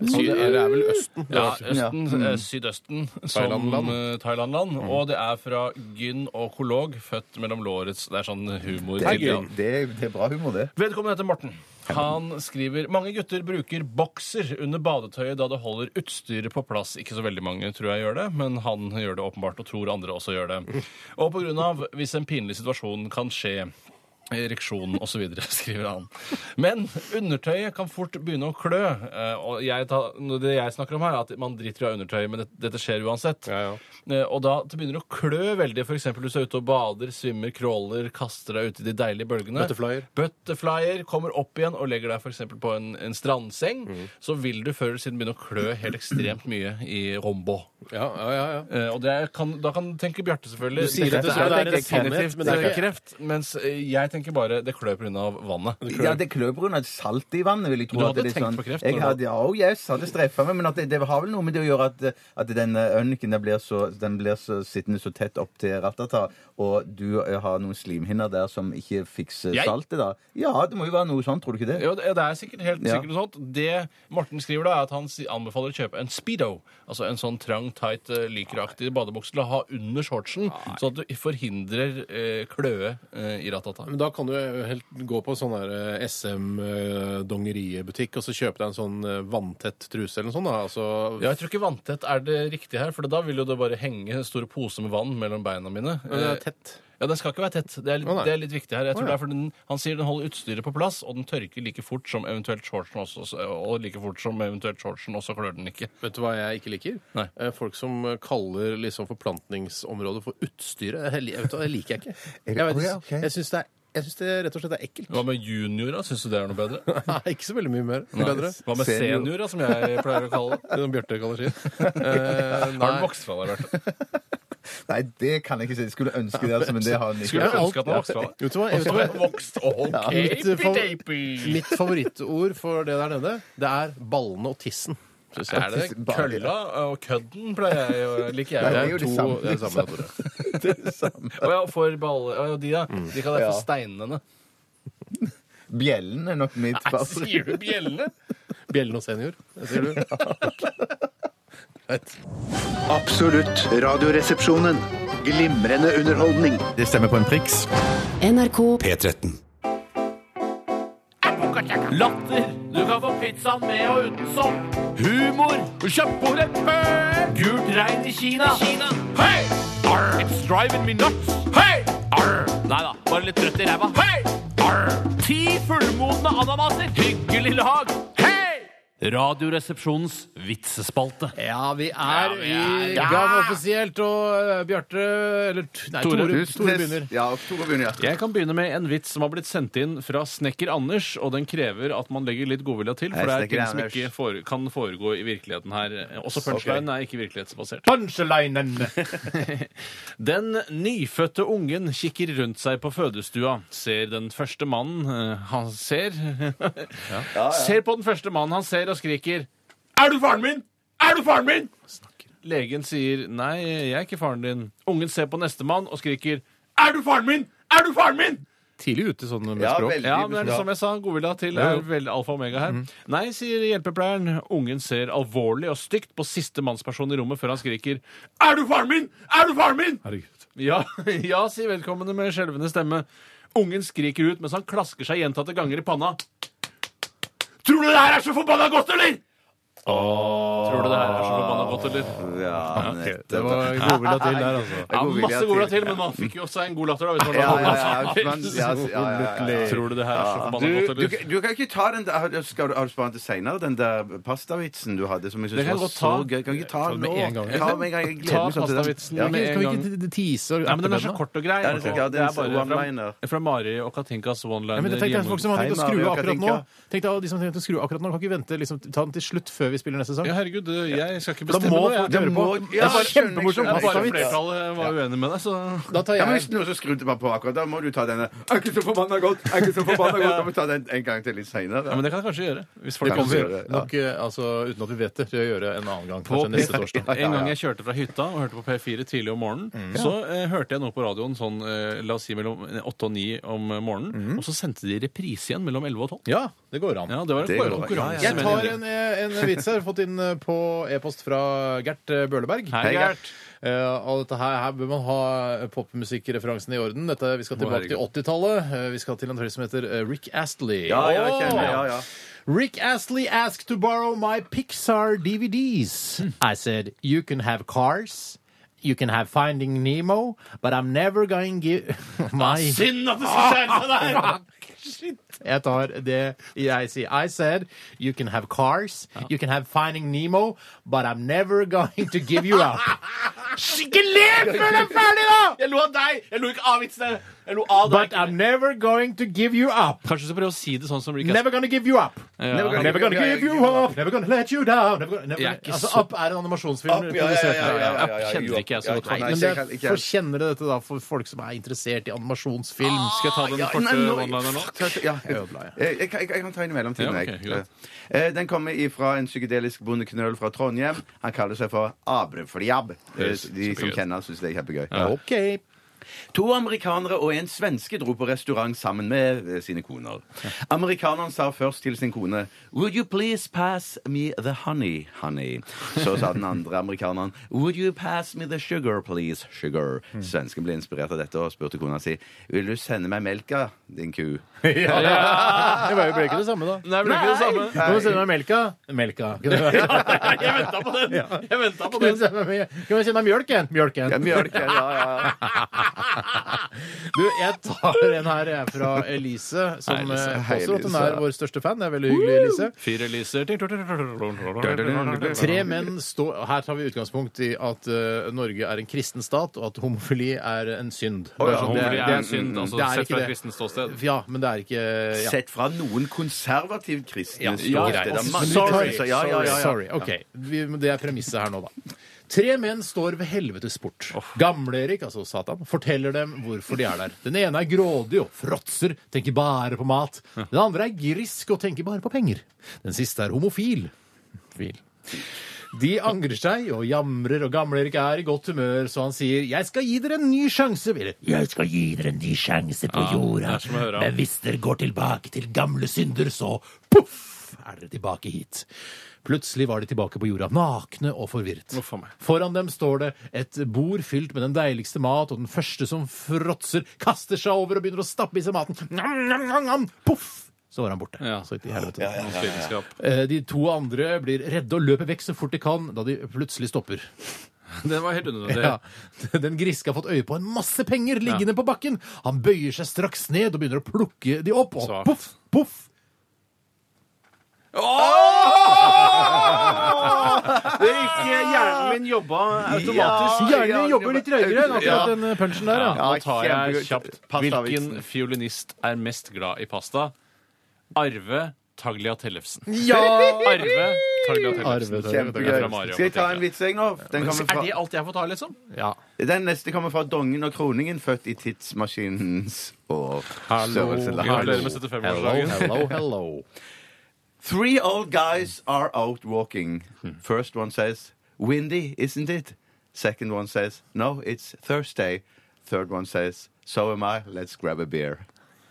Sy-
Og
eller det er vel Østen?
Ja,
Det er Østen,
Østen,
ja.
eh,
Mm.
Sydøsten.
Thailand-land.
Som, eh, Thailand-land. Og det er fra gyn og kolog, født mellom lårets Det er sånn humor.
Det er,
til-
gøy. det, er, det er bra humor, det.
Vedkommende heter Morten. Han skriver mange gutter bruker bokser under badetøyet da det holder utstyret på plass. Ikke så veldig mange tror jeg gjør det, men han gjør det åpenbart og tror andre også gjør det. Og på grunn av hvis en pinlig situasjon kan skje Ereksjon osv., <laughs> skriver han. Men undertøyet kan fort begynne å klø. eh, Og jeg tar, det jeg snakker om her, er at man driter i å ha undertøy, men det, dette skjer uansett. Eh, Og da det begynner å klø veldig. F.eks. hvis du er ute og bader, svømmer, crawler, kaster deg uti de deilige bølgene.
Butterflyer.
Butterflyer kommer opp igjen og legger deg for eksempel på en, en strandseng,
Mm.
så vil du før eller siden begynne å klø helt ekstremt mye i rombo. Eh, og det er, kan, da kan tenke Bjarte, selvfølgelig.
Du sier
Dette
dette som
er-
det er
dette er
en sannhet, men det er
ikke kreft. Mens eh, jeg tenker bare det klør pga. vannet.
Ja, det klør pga. salt i vannet. vil jeg tro.
Du
at det er litt
hadde tenkt
sånn,
på kreft,
Jeg
når du-
hadde, ja, oh yes, hadde streffa meg, men at det, det har vel noe med det å gjøre at, at den eh, ønken den blir, så, den blir så sittende så tett opp til ratata, og du eh, har noen slimhinner der som ikke fikser
Jeg?
saltet, da. Ja, det må jo være noe sånt, tror du ikke det?
Jo, det det er sikkert helt
Ja.
sikkert noe sånt. Det Morten skriver, da, er at han si- anbefaler å kjøpe en Speedo. Altså en sånn trang, tight, eh, lykeraktig badebukse til å ha under shortsen, sånn at du forhindrer eh, kløe eh, i ratata.
Men da kan du jo helt gå på sånn der SM-dongeriebutikk eh, og så kjøpe deg en sånn eh, vanntett truse eller noe sånt. Da. Altså,
Ja, jeg tror ikke vanntett er det riktige her, for da vil jo det bare henge store poser med vann mellom beina mine. Eh,
Men den er tett.
Ja, den skal ikke være tett. Det er, litt-
Å, nei.
det er litt viktig her. Jeg tror
Å,
det
ja.
er fordi den, Han sier den holder utstyret på plass, og den tørker like fort som eventuelt shortsen også, og like fort som eventuelt shortsen, og så klør den ikke.
Vet du hva jeg ikke liker? Eh, Folk som eh, kaller liksom forplantningsområdet for utstyret. Jeg li- jeg vet, hva, det
<laughs>
liker jeg ikke. Jeg, vet-
Å, ja, ok.
jeg syns det, er- jeg syns det rett og slett er ekkelt.
Hva med junior, da? Syns du det er noe bedre?
<laughs> Nei, ikke så veldig mye mer.
Nei.
bedre.
Hva med senior, da, som jeg pleier å kalle
<laughs>
det? Eh,
det? Som Bjarte kaller sin.
<laughs>
Har den
nei.
vokst fra deg, Bjarte? <laughs>
Nei, det kan jeg ikke si. Jeg Skulle ønske det, altså, men det har den ikke.
Skulle ønske at den var vokst fra deg. Vet du hva, jeg
Altså,
vet hva-
<laughs>
Mitt, eh, favor- mitt favorittord for det der nede, det er ballene og tissen. synes jeg.
Er det det? kølla og kødden pleier jeg
<laughs>
å like.
Nei, det er jo de samme-
det er samme ordet.
<laughs>
Å ja, for balle... Å ja, de, da.
Mm.
De kan være for
Ja.
steinene.
Bjellen er nok mitt
Nei, sier du bjellene?
Bjellen og senior, sier
<laughs>
du.
Absolutt radioresepsjonen. Glimrende underholdning.
Det stemmer på en priks.
NRK
P13.
Latter. Du kan få pizzaen med og uten sopp. Humor. Kjøttbordet bø. Gult regn i Kina. Hei! Arr. It's driving me nuts. Hei! Arr. Nei da, bare litt trøtt i ræva. Hei! Arr. Ti fullmodne ananaser. Hyggelig lag. Hei!
Radioresepsjonens vitsespalte.
Ja, vi er i
Ja.
gang offisielt, og eh, Bjarte Eller t- nei, Tore, Tore, begynner.
Jeg kan begynne med en vits som har blitt sendt inn fra snekker Anders, og den krever at man legger litt godvilja til,
Hei,
for det er
snekker
ting som
Anders.
ikke fore, kan foregå i virkeligheten her. Også punchlinen er ikke virkelighetsbasert.
Punchlinen!
<laughs> Den nyfødte ungen kikker rundt seg på fødestua, ser den første mannen eh,
<laughs>
han ser Ser på den første mannen han ser og skriker Er du faren min?! Er du faren min?! Legen sier nei, jeg er ikke faren din. Ungen ser på nestemann og skriker Er du faren min?! Er du faren min?!
Tidlig ute sånn med
Ja,
språk.
veldig, Ja, men det er det som jeg sa. Godvilja til
Ja,
er
jo.
veldig alfa og omega her. Nei, sier hjelpepleieren. Ungen ser alvorlig og stygt på siste mannsperson i rommet før han skriker Er du faren min?! Er du faren min?! Ja, <laughs> ja, sier vedkommende med skjelvende stemme. Ungen skriker ut mens han klasker seg gjentatte ganger i panna. Tror du det her er så forbanna godt, eller?! Tror du det her er så forbanna godt, eller?
Ja, nettopp.
det var godvilja til der, altså. Ja, masse godvilja til, men man fikk jo også en god latter. da, hvis man <laughs>
Ja,
la-
ja, ja, ja, men- ja, ja, ja, ja, ja.
Tror du det her er så forbanna
Du-
godt, eller?
Du, du kan ikke ta den der Skal du, Har du spart den til senere, den der pastavitsen du hadde? Som jeg synes
Det kan
var
jeg godt
så
ta.
gøy. Kan ikke ta den
med
nå?
en gang. liksom.
Ta den med en gang. Jeg
Ta
gleder meg sånn til den.
pastavitsen
Ja.
med en gang.
tease
Nei, men Den er så kort og grei.
Ja,
liksom.
det er så- ja,
Det
det
er
er
bare
one-liner.
fra, fra Mari og Katinkas
Ja, men
one-liner.
det tenk deg folk som har tenkt å skru av akkurat nå.
hjemme.
Tenk deg, de som har tenkt å skru av akkurat nå, kan ikke vente liksom, ta den til slutt før vi spiller neste sang.
Ja, herregud, det- jeg skal ikke
Da må
bestemme noe, jeg.
folk høre på.
Da må-
Det
Ja,
er
skjønner,
kjempemorsom
skjønner. Ja, bare
pastavits.
flertallet var uenig med deg, så
Da tar
Ja, men
jeg
hvis noen som skrudde meg på akkurat, da må du ta denne. Er ikke så forbanna godt! Er ikke så forbanna godt! Da må du ta den en gang til litt senere.
Ja, men det kan jeg kanskje gjøre. Hvis
Det
folk
kommer
vil.
vi nok eh, altså, uten at vi vet det, til å gjøre en annen gang.
På <laughs>
Kanskje neste torsdag.
En gang jeg kjørte fra hytta og hørte på P4 tidlig om morgenen,
Mm.
så eh, hørte jeg noe på radioen sånn eh, la oss si mellom åtte og ni om eh, morgenen, og så sendte de reprise igjen mellom elleve og tolv.
Mm. Ja, det går an.
Ja, det var en
Det går an.
konkurranse.
Jeg
mener
tar en, eh, en vits her, fått inn eh, på e-post fra Gert eh, Bøhleberg.
Hei, Gert.
Eh, og dette her, her bør man ha popmusikkreferansene i orden. Dette, vi skal
Å,
tilbake til 80-tallet. Eh, vi skal til en høyre som heter eh, Rick Astley.
Ja, ja, jeg kjenner, ja, ja.
Rick Astley asked to borrow my Pixar DVDs.
Hm.
I said, you can have cars. You can have Finding Nemo, but I'm never going to <laughs> give my
Ah, Synd at det skal skjære seg der!
<laughs>
<laughs>
jeg tar det jeg sier. I said you can have cars, you can have Finding Nemo, but I'm never going to give you
<laughs>
up.
Ikke le før det er ferdig, da! Jeg lo av deg. Jeg lo ikke av vitsene. Jeg lo av
But I'm never going to give you up.
Kanskje du skal prøve å si det sånn som Rick Astley.
Never gonna give you up.
Ja.
Never, gonna, never gonna give you up. Never gonna let you down. Never gonna, never
Jeg er
gonna.
ikke
Altså,
så-
Up er en animasjonsfilm.
Up, ja, ja, ja, ja, ja, ja, ja, ja.
Kjenner ikke jeg så godt.
Nei,
men
jeg kan-
det
ikke jeg.
for kjenner dette da for folk som er interessert i animasjonsfilm.
Ah,
Skal jeg ta den korte
one-liner nå?
Ja, jeg, jeg, jeg, kan- jeg kan ta en i mellomtiden.
Ja, ok,
jeg. Eh, Den kommer ifra en psykedelisk bondeknøl fra Trondheim. Han kaller seg for Abrefliab. Eh,
Høres
De som
kjempegøy ut.
kjenner han, syns det er kjempegøy.
Ja.
Ok.
To amerikanere og en svenske dro på restaurant sammen med eh, sine koner. Amerikaneren sa først til sin kone Would you please pass me the honey, honey? Så sa den andre amerikaneren Would you pass me the sugar, please, sugar?
Mm.
Svensken ble inspirert av dette og spurte kona si Vil du sende meg melka, din
<laughs>
ku?
Ja. <laughs> Det var jo ble ikke det samme, da.
Nei, ble ikke det samme.
Nå må du sende meg melka. Melka. Kunne
<laughs>
det vært-
Jeg venta på den! Jeg ventet på
Kan
den.
vi sende mjølken? Mjølken.
mjølken,
<laughs>
ja,
Du, jeg tar en her jeg, fra Elise, som
Hei, Elise.
eh,
Hei,
påstår at hun
Elise.
er vår største fan. Det er veldig hyggelig, Elise.
Fire liser
Tre menn står Her tar vi utgangspunkt i at eh, Norge er en kristen stat, og at homofili er en synd.
Å ja,
Bare sånn, det
homofili er
det
en
Mm,
synd, altså,
det er
sett
ikke
fra et
det.
kristent ståsted.
Ja, men det er ikke Eh, ja.
Sett fra noen konservativ kristne
Ja,
ståsted.
greit.
Det er mange
Sorry.
kristenser. Ja, ja, ja, ja.
Sorry. OK. Vi, men det er premisset her nå, da. Tre menn står ved helvetes port. Gamle-Erik, altså Satan, forteller dem hvorfor de er der. Den ene er grådig og fråtser, tenker bare på mat. Den andre er grisk og tenker bare på penger. Den siste er homofil. Fil. De angrer seg og jamrer, og Gamle-Erik er i godt humør, så han sier 'Jeg skal gi dere en ny sjanse', eller 'Jeg skal gi dere en ny sjanse på
Ja, det
jorda',
er som å høre han.
men hvis dere går tilbake til gamle synder, så poff, er dere tilbake hit. Plutselig var de tilbake på jorda, nakne og forvirret. Foran dem står det et bord fylt med den deiligste mat, og den første som fråtser, kaster seg over og begynner å stappe i seg maten. Nam, nam, nam, nam. Poff! Så var han borte. Så gikk det i helvete. Eh, De to andre blir redde og løper vekk så fort de kan, da de plutselig stopper.
Den var helt unødvendig.
Ja, <laughs> den griske har fått øye på en masse penger liggende på bakken. Han bøyer seg straks ned og begynner å plukke de opp, og
Svakt.
poff, poff!
Åh! <laughs> Det gikk eh, Hjernen min jobba automatisk.
Ja, hjernen min jobber litt treigere enn akkurat
Ja.
den eh, punchen der, ja.
Nå tar jeg
Kjempegod.
kjapt. Hvilken fiolinist er mest glad i pasta? Arve Tagliatellefsen.
Ja!
Arve
Arve
Tagliatellefsen.
Tagliatellefsen.
Fra Mario.
Skal jeg ta en vits, jeg, nå? Den kommer fra-
Er det alt jeg får ta, liksom?
Ja.
Den neste kommer fra Dongen og Kroningen, født i tidsmaskinens år.
Hallo.
Størrelse, la-
Gratulerer med 75-årsdagen.
Hello, hello, hello. Three old guys are out walking. First one says, Windy, isn't it? Second one says, No, it's Thursday. Third one says, So am I, let's grab a beer.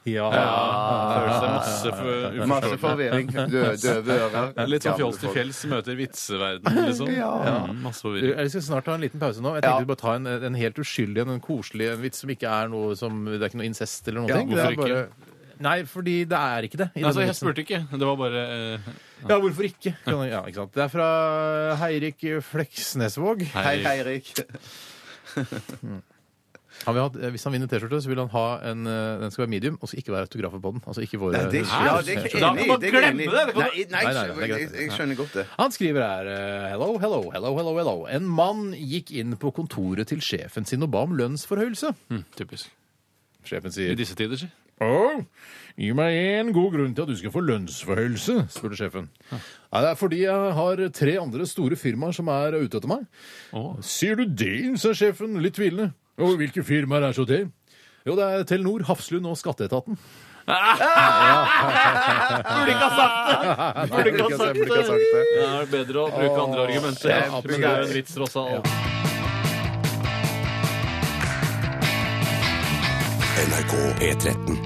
Ja. Følelse masse, for,
Masse forvirring. Dø- Døve ører.
Litt sånn
Gamle
fjols til
folk.
fjells møter vitseverden, liksom.
Ja.
Mm, masse
Du,
forvirring.
Jeg Eh, skal snart ta en liten pause nå. Jeg tenkte vi bare ta en, en helt uskyldig en, en koselig en vits som ikke er noe som Det er ikke noe incest eller noe.
Ja, hvorfor
Nei, fordi det er ikke det. i
Altså,
denne
jeg
vitsen.
spurte ikke. Det var bare eh,
Ja, hvorfor ikke? Kan- Ja, ikke sant? Det er fra Heirik Fleksnesvåg.
Hei, Eirik.
<laughs> Han vil ha, eh, hvis han vinner T-skjorte, så vil han ha en eh, Den skal være medium, og så ikke være autografer på den. Altså ikke våre
Nei, det er- ja, det er ikke enig i, det er ikke enig i. Nei, nei,
det er greit.
jeg- jeg skjønner godt det.
Han skriver her eh, Hello, hello, hello, hello, hello. En mann gikk inn på kontoret til sjefen sin og ba om lønnsforhøyelse.
Mm,
typisk.
Sjefen sier
I disse tider, si.
Åh, gi meg en god grunn til at du skal få lønnsforhøyelse, spurte sjefen. Nei, det er fordi jeg har tre andre store firmaer som er ute etter meg. Sier du det, sa sjefen, litt tvilende. Og hvilke firmaer er så det? Jo, det er Telenor, Hafslund og
<laughs>
Skatteetaten.
Burde ikke ha sagt det! <laughs> Burde ikke ha sagt
Burde ikke ha sagt
det. Det er bedre å bruke andre argumenter.
Ja,
Men det er jo en vits tross alt.
NRK P13.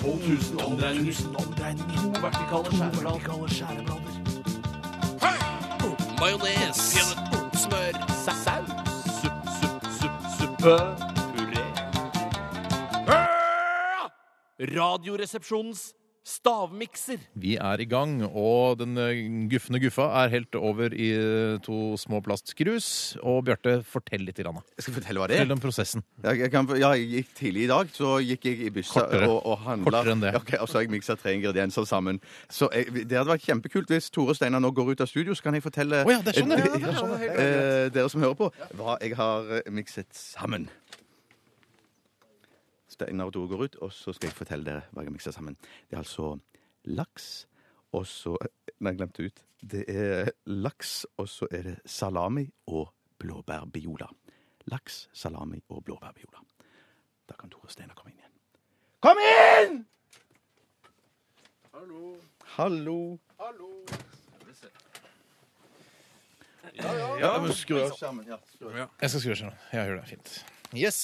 12 000 omdreininger. To vertikale skjæreblader. Majones. Smør. Saus. Supp, supp, supp, suppe. Puré.
Radioresepsjonens stavmikser.
Vi er i gang, og den eh, gufne guffa er helt over i eh, to små plastskrus. Og Bjarte, fortell litt. Grann.
Jeg skal fortelle hva det er.
Fortell om prosessen.
Jeg, jeg, kan, ja, jeg gikk tidlig i dag, så gikk jeg i byssa
Kortere.
og, og handla.
Kortere enn det.
Ja, ok, og så har jeg miksa tre ingredienser sammen. Så jeg, Det hadde vært kjempekult hvis Tore og Steinar nå går ut av studio, så kan jeg fortelle
Å ja, det er sånn,
eh,
ja. Ja, det er sånn, ja.
eh, dere som hører på, hva jeg har eh, mikset sammen. Steinar og Tore går ut, og så skal jeg fortelle dere hva jeg har miksa sammen. Det er altså laks, og så eh, Nei, jeg glemte ut. Det er laks, og så er det salami og blåbærbiola. Laks, salami og blåbærbiola. Da kan Tore Steinar komme inn igjen. Kom inn! Hallo. Ja, men skru av skjermen. Ja, skru av.
Jeg skal skru av skjermen. Ja, gjør det. Fint. Yes.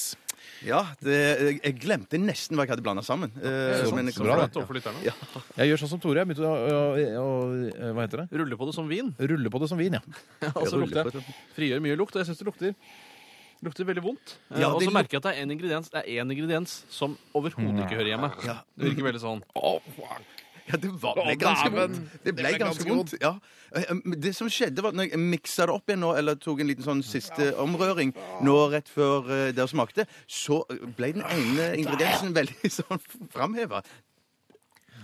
Ja, det, jeg glemte nesten hva jeg hadde blanda sammen. Eh,
Så-
men jeg
så
kom
bra,
fra-
da.
Ja.
Ja. Jeg gjør sånn som Tore. Jeg begynte å, å, å, å Hva heter det?
Rulle på det som vin.
Rulle på det som vin, ja.
Og så lukter jeg. Frigjør mye lukt, og jeg syns det lukter Lukter veldig vondt. Eh,
Ja,
og
det
så
luk-
merker jeg at det er én ingrediens, det er en ingrediens som overhodet
Mm.
ikke hører hjemme. Det virker veldig sånn
Ja, det var,
Å,
ble ganske
dæven.
vondt. Det ble ganske vondt, ja. Eh, men Det som skjedde, var at når jeg miksa det opp igjen nå, eller tok en liten sånn siste omrøring nå rett før eh, dere smakte, så ble den ene
Ah,
ingrediensen veldig <laughs> sånn framheva.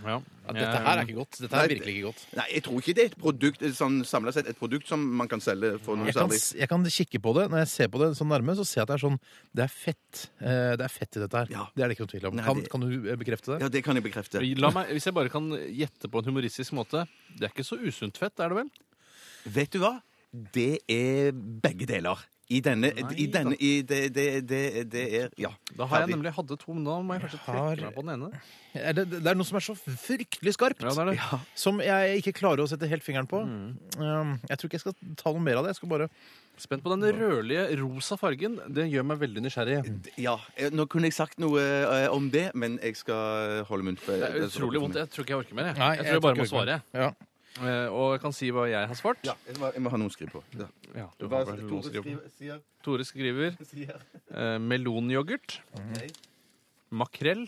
Ja, dette her er ikke godt. Dette her er virkelig ikke godt.
Nei, jeg tror ikke det er et produkt eh, sånn, samlet sett, et produkt som man kan selge for noe
Jeg kan,
særlig.
s- jeg kan kikke på det. Når jeg ser på det sånn nærme, så ser jeg at det er sånn Det er fett. Eh, Det er fett i dette her. Det er det ikke noe tvil om.
Nei,
Kan,
det-
kan du eh, bekrefte det?
Ja, det kan jeg bekrefte.
La meg, Hvis jeg bare kan gjette på en humoristisk måte Det er ikke så usunt fett, er det vel?
Vet du hva? Det er begge deler. I denne, i denne i det, det, det, det er Ja.
Da har jeg nemlig hadde to, men da må jeg kanskje trekke meg på den ene.
Er det, det er noe som er så fryktelig skarpt.
Ja, det Mm. er det.
Som jeg ikke klarer å sette helt fingeren på. Um, Jeg tror ikke jeg skal ta noe mer av det. Jeg skal bare
Spent på den rødlige rosa fargen. Den gjør meg veldig nysgjerrig.
Ja, eh, Nå kunne jeg sagt noe eh, om det, men jeg skal holde munn. for-
Det er utrolig vondt. Jeg tror ikke jeg orker mer. Jeg,
Nei,
jeg
jeg
tror jeg bare
tror
må
ikke
svare.
jeg orker.
Eh, Og jeg kan si hva jeg har svart.
Ja, jeg må, jeg må ha noe å skrive på. Ja.
Ja, du
Hva
har
er
vel
det
noe å
Tore
skrive på.
skriver- sier?
Tore skriver
<laughs> Sier.
eh, melonyoghurt.
Mhm.
Ok.
Makrell.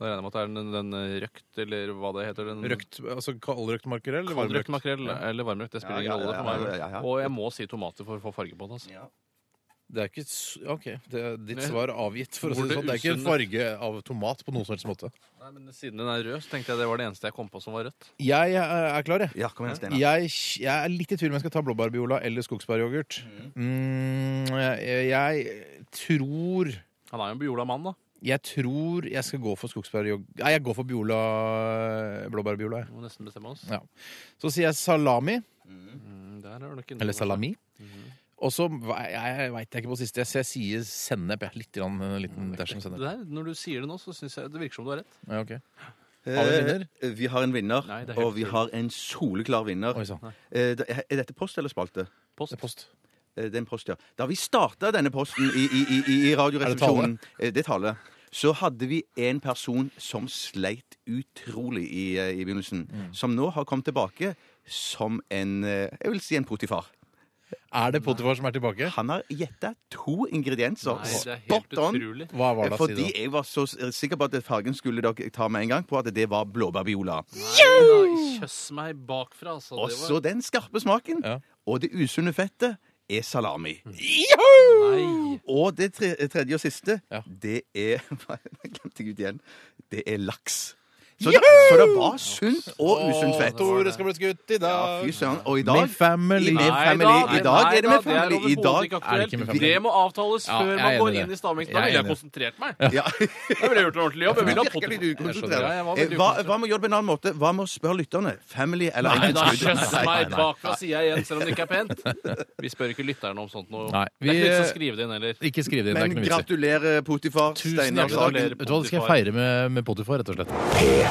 Da regner jeg med at det er den, den eh, røkt, eller hva det heter. Den,
Røkt, altså Kaldrøkt makrell eller
Kaldrøkt
varmrøkt?
makrell
Ja.
eller varmrøkt. Det spiller
Ja, ja,
ingen rolle
ja,
for meg.
ja, ja, ja.
Og jeg må si tomater for å få farge på det. Altså.
Det er ikke s- OK. Det er ditt
Nei.
svar er avgitt, for å si
Hvor
det
det
sånn. Det er ikke en
usunne-
farge av tomat på noen som helst måte.
Nei, men Siden den er rød, så tenkte jeg det var det eneste jeg kom på som var rødt.
Jeg eh, er klar, jeg.
Ja, kom igjen, Steinar.
jeg. Jeg er litt i tvil om jeg skal ta blåbærbiola eller skogsbæryoghurt. Mm, jeg, jeg tror
Han er jo en Biola-mann, da.
Jeg tror jeg skal gå for skogsbæryoghurt Nei, jeg går for biola, blåbærbiola.
Vi
jeg.
må nesten bestemme altså. oss.
Ja. Så sier jeg salami.
Mm, Der er du ikke
Eller salami. Og så ve- jeg, jeg veit jeg ikke på siste. Jeg, jeg sier sennep. Jeg. Litt grann, en liten dash med
Det
sennep.
der, når du sier det nå, så syns jeg det virker som du har rett.
Ja, ok.
Har vi en vinner?
Eh, Vi har en vinner,
Nei, det er helt
og vi har en soleklar vinner. Eh, da- Er dette post eller spalte?
sånn. Post.
Eh, Det er en post, ja. Da vi starta denne posten i, i, i, i- i Radioresepsjonen Eh, Det taler. Så hadde vi en person som sleit utrolig i, eh, i begynnelsen.
Mm.
Som nå har kommet tilbake som en eh, Jeg vil si en potifar.
Er det Potifar som er tilbake?
Han har gjetta to ingredienser.
Nei, det er helt
Spot on!
utrolig.
Hva var det, si
Fordi
da?
jeg var så s- sikker på at fargen skulle dere ta med en gang, på at det var blåbærbiola.
Nei, Kjøss meg bakfra, altså.
Og så den skarpe smaken og det usunne fettet er salami.
Mm.
Og det tre tredje og siste, det er <laughs> Hva glemte jeg ut igjen? Det er laks. Så det, så det var sunt og usunt fett.
Tore skal bli skutt i dag.
Fy søren. Og i dag
Med family.
I, med
Nei
family.
da,
I dag
nei
er det
da,
med
det er
family. I
overhodet
dag
ikke aktuelt. Er det ikke med family?
Det må avtales
Ja,
før
jeg
man
er
går
enig i
inn
det.
i stavmiksen. Da
Jeg er enig i
ville jeg
det.
konsentrert meg.
Ja.
Jeg ville gjort en ordentlig jobb. Jeg ville ha
Virkelig
potet.
ukonsentrert.
Ja, jeg var
Eh,
veldig
Hva, hva med å gjøre det på en annen måte? Hva med å spørre lytterne? Family eller
Nei da,
enkeltskudd?
kjøss
Nei, nei,
meg
nei.
bakfra, sier jeg igjen, selv om det ikke er
<laughs>
pent. Vi spør ikke lytterne om sånt noe.
Nei,
det er
vi-
ikke vits å skrive det inn heller.
Ikke skriv det inn. Det er
Men
ikke noe vits i.
gratulerer, Potifar.
Tusen
Steinar
hjertelig takk.
Sagen.
Vet du hva, det skal jeg feire med, med Potifar, rett og slett.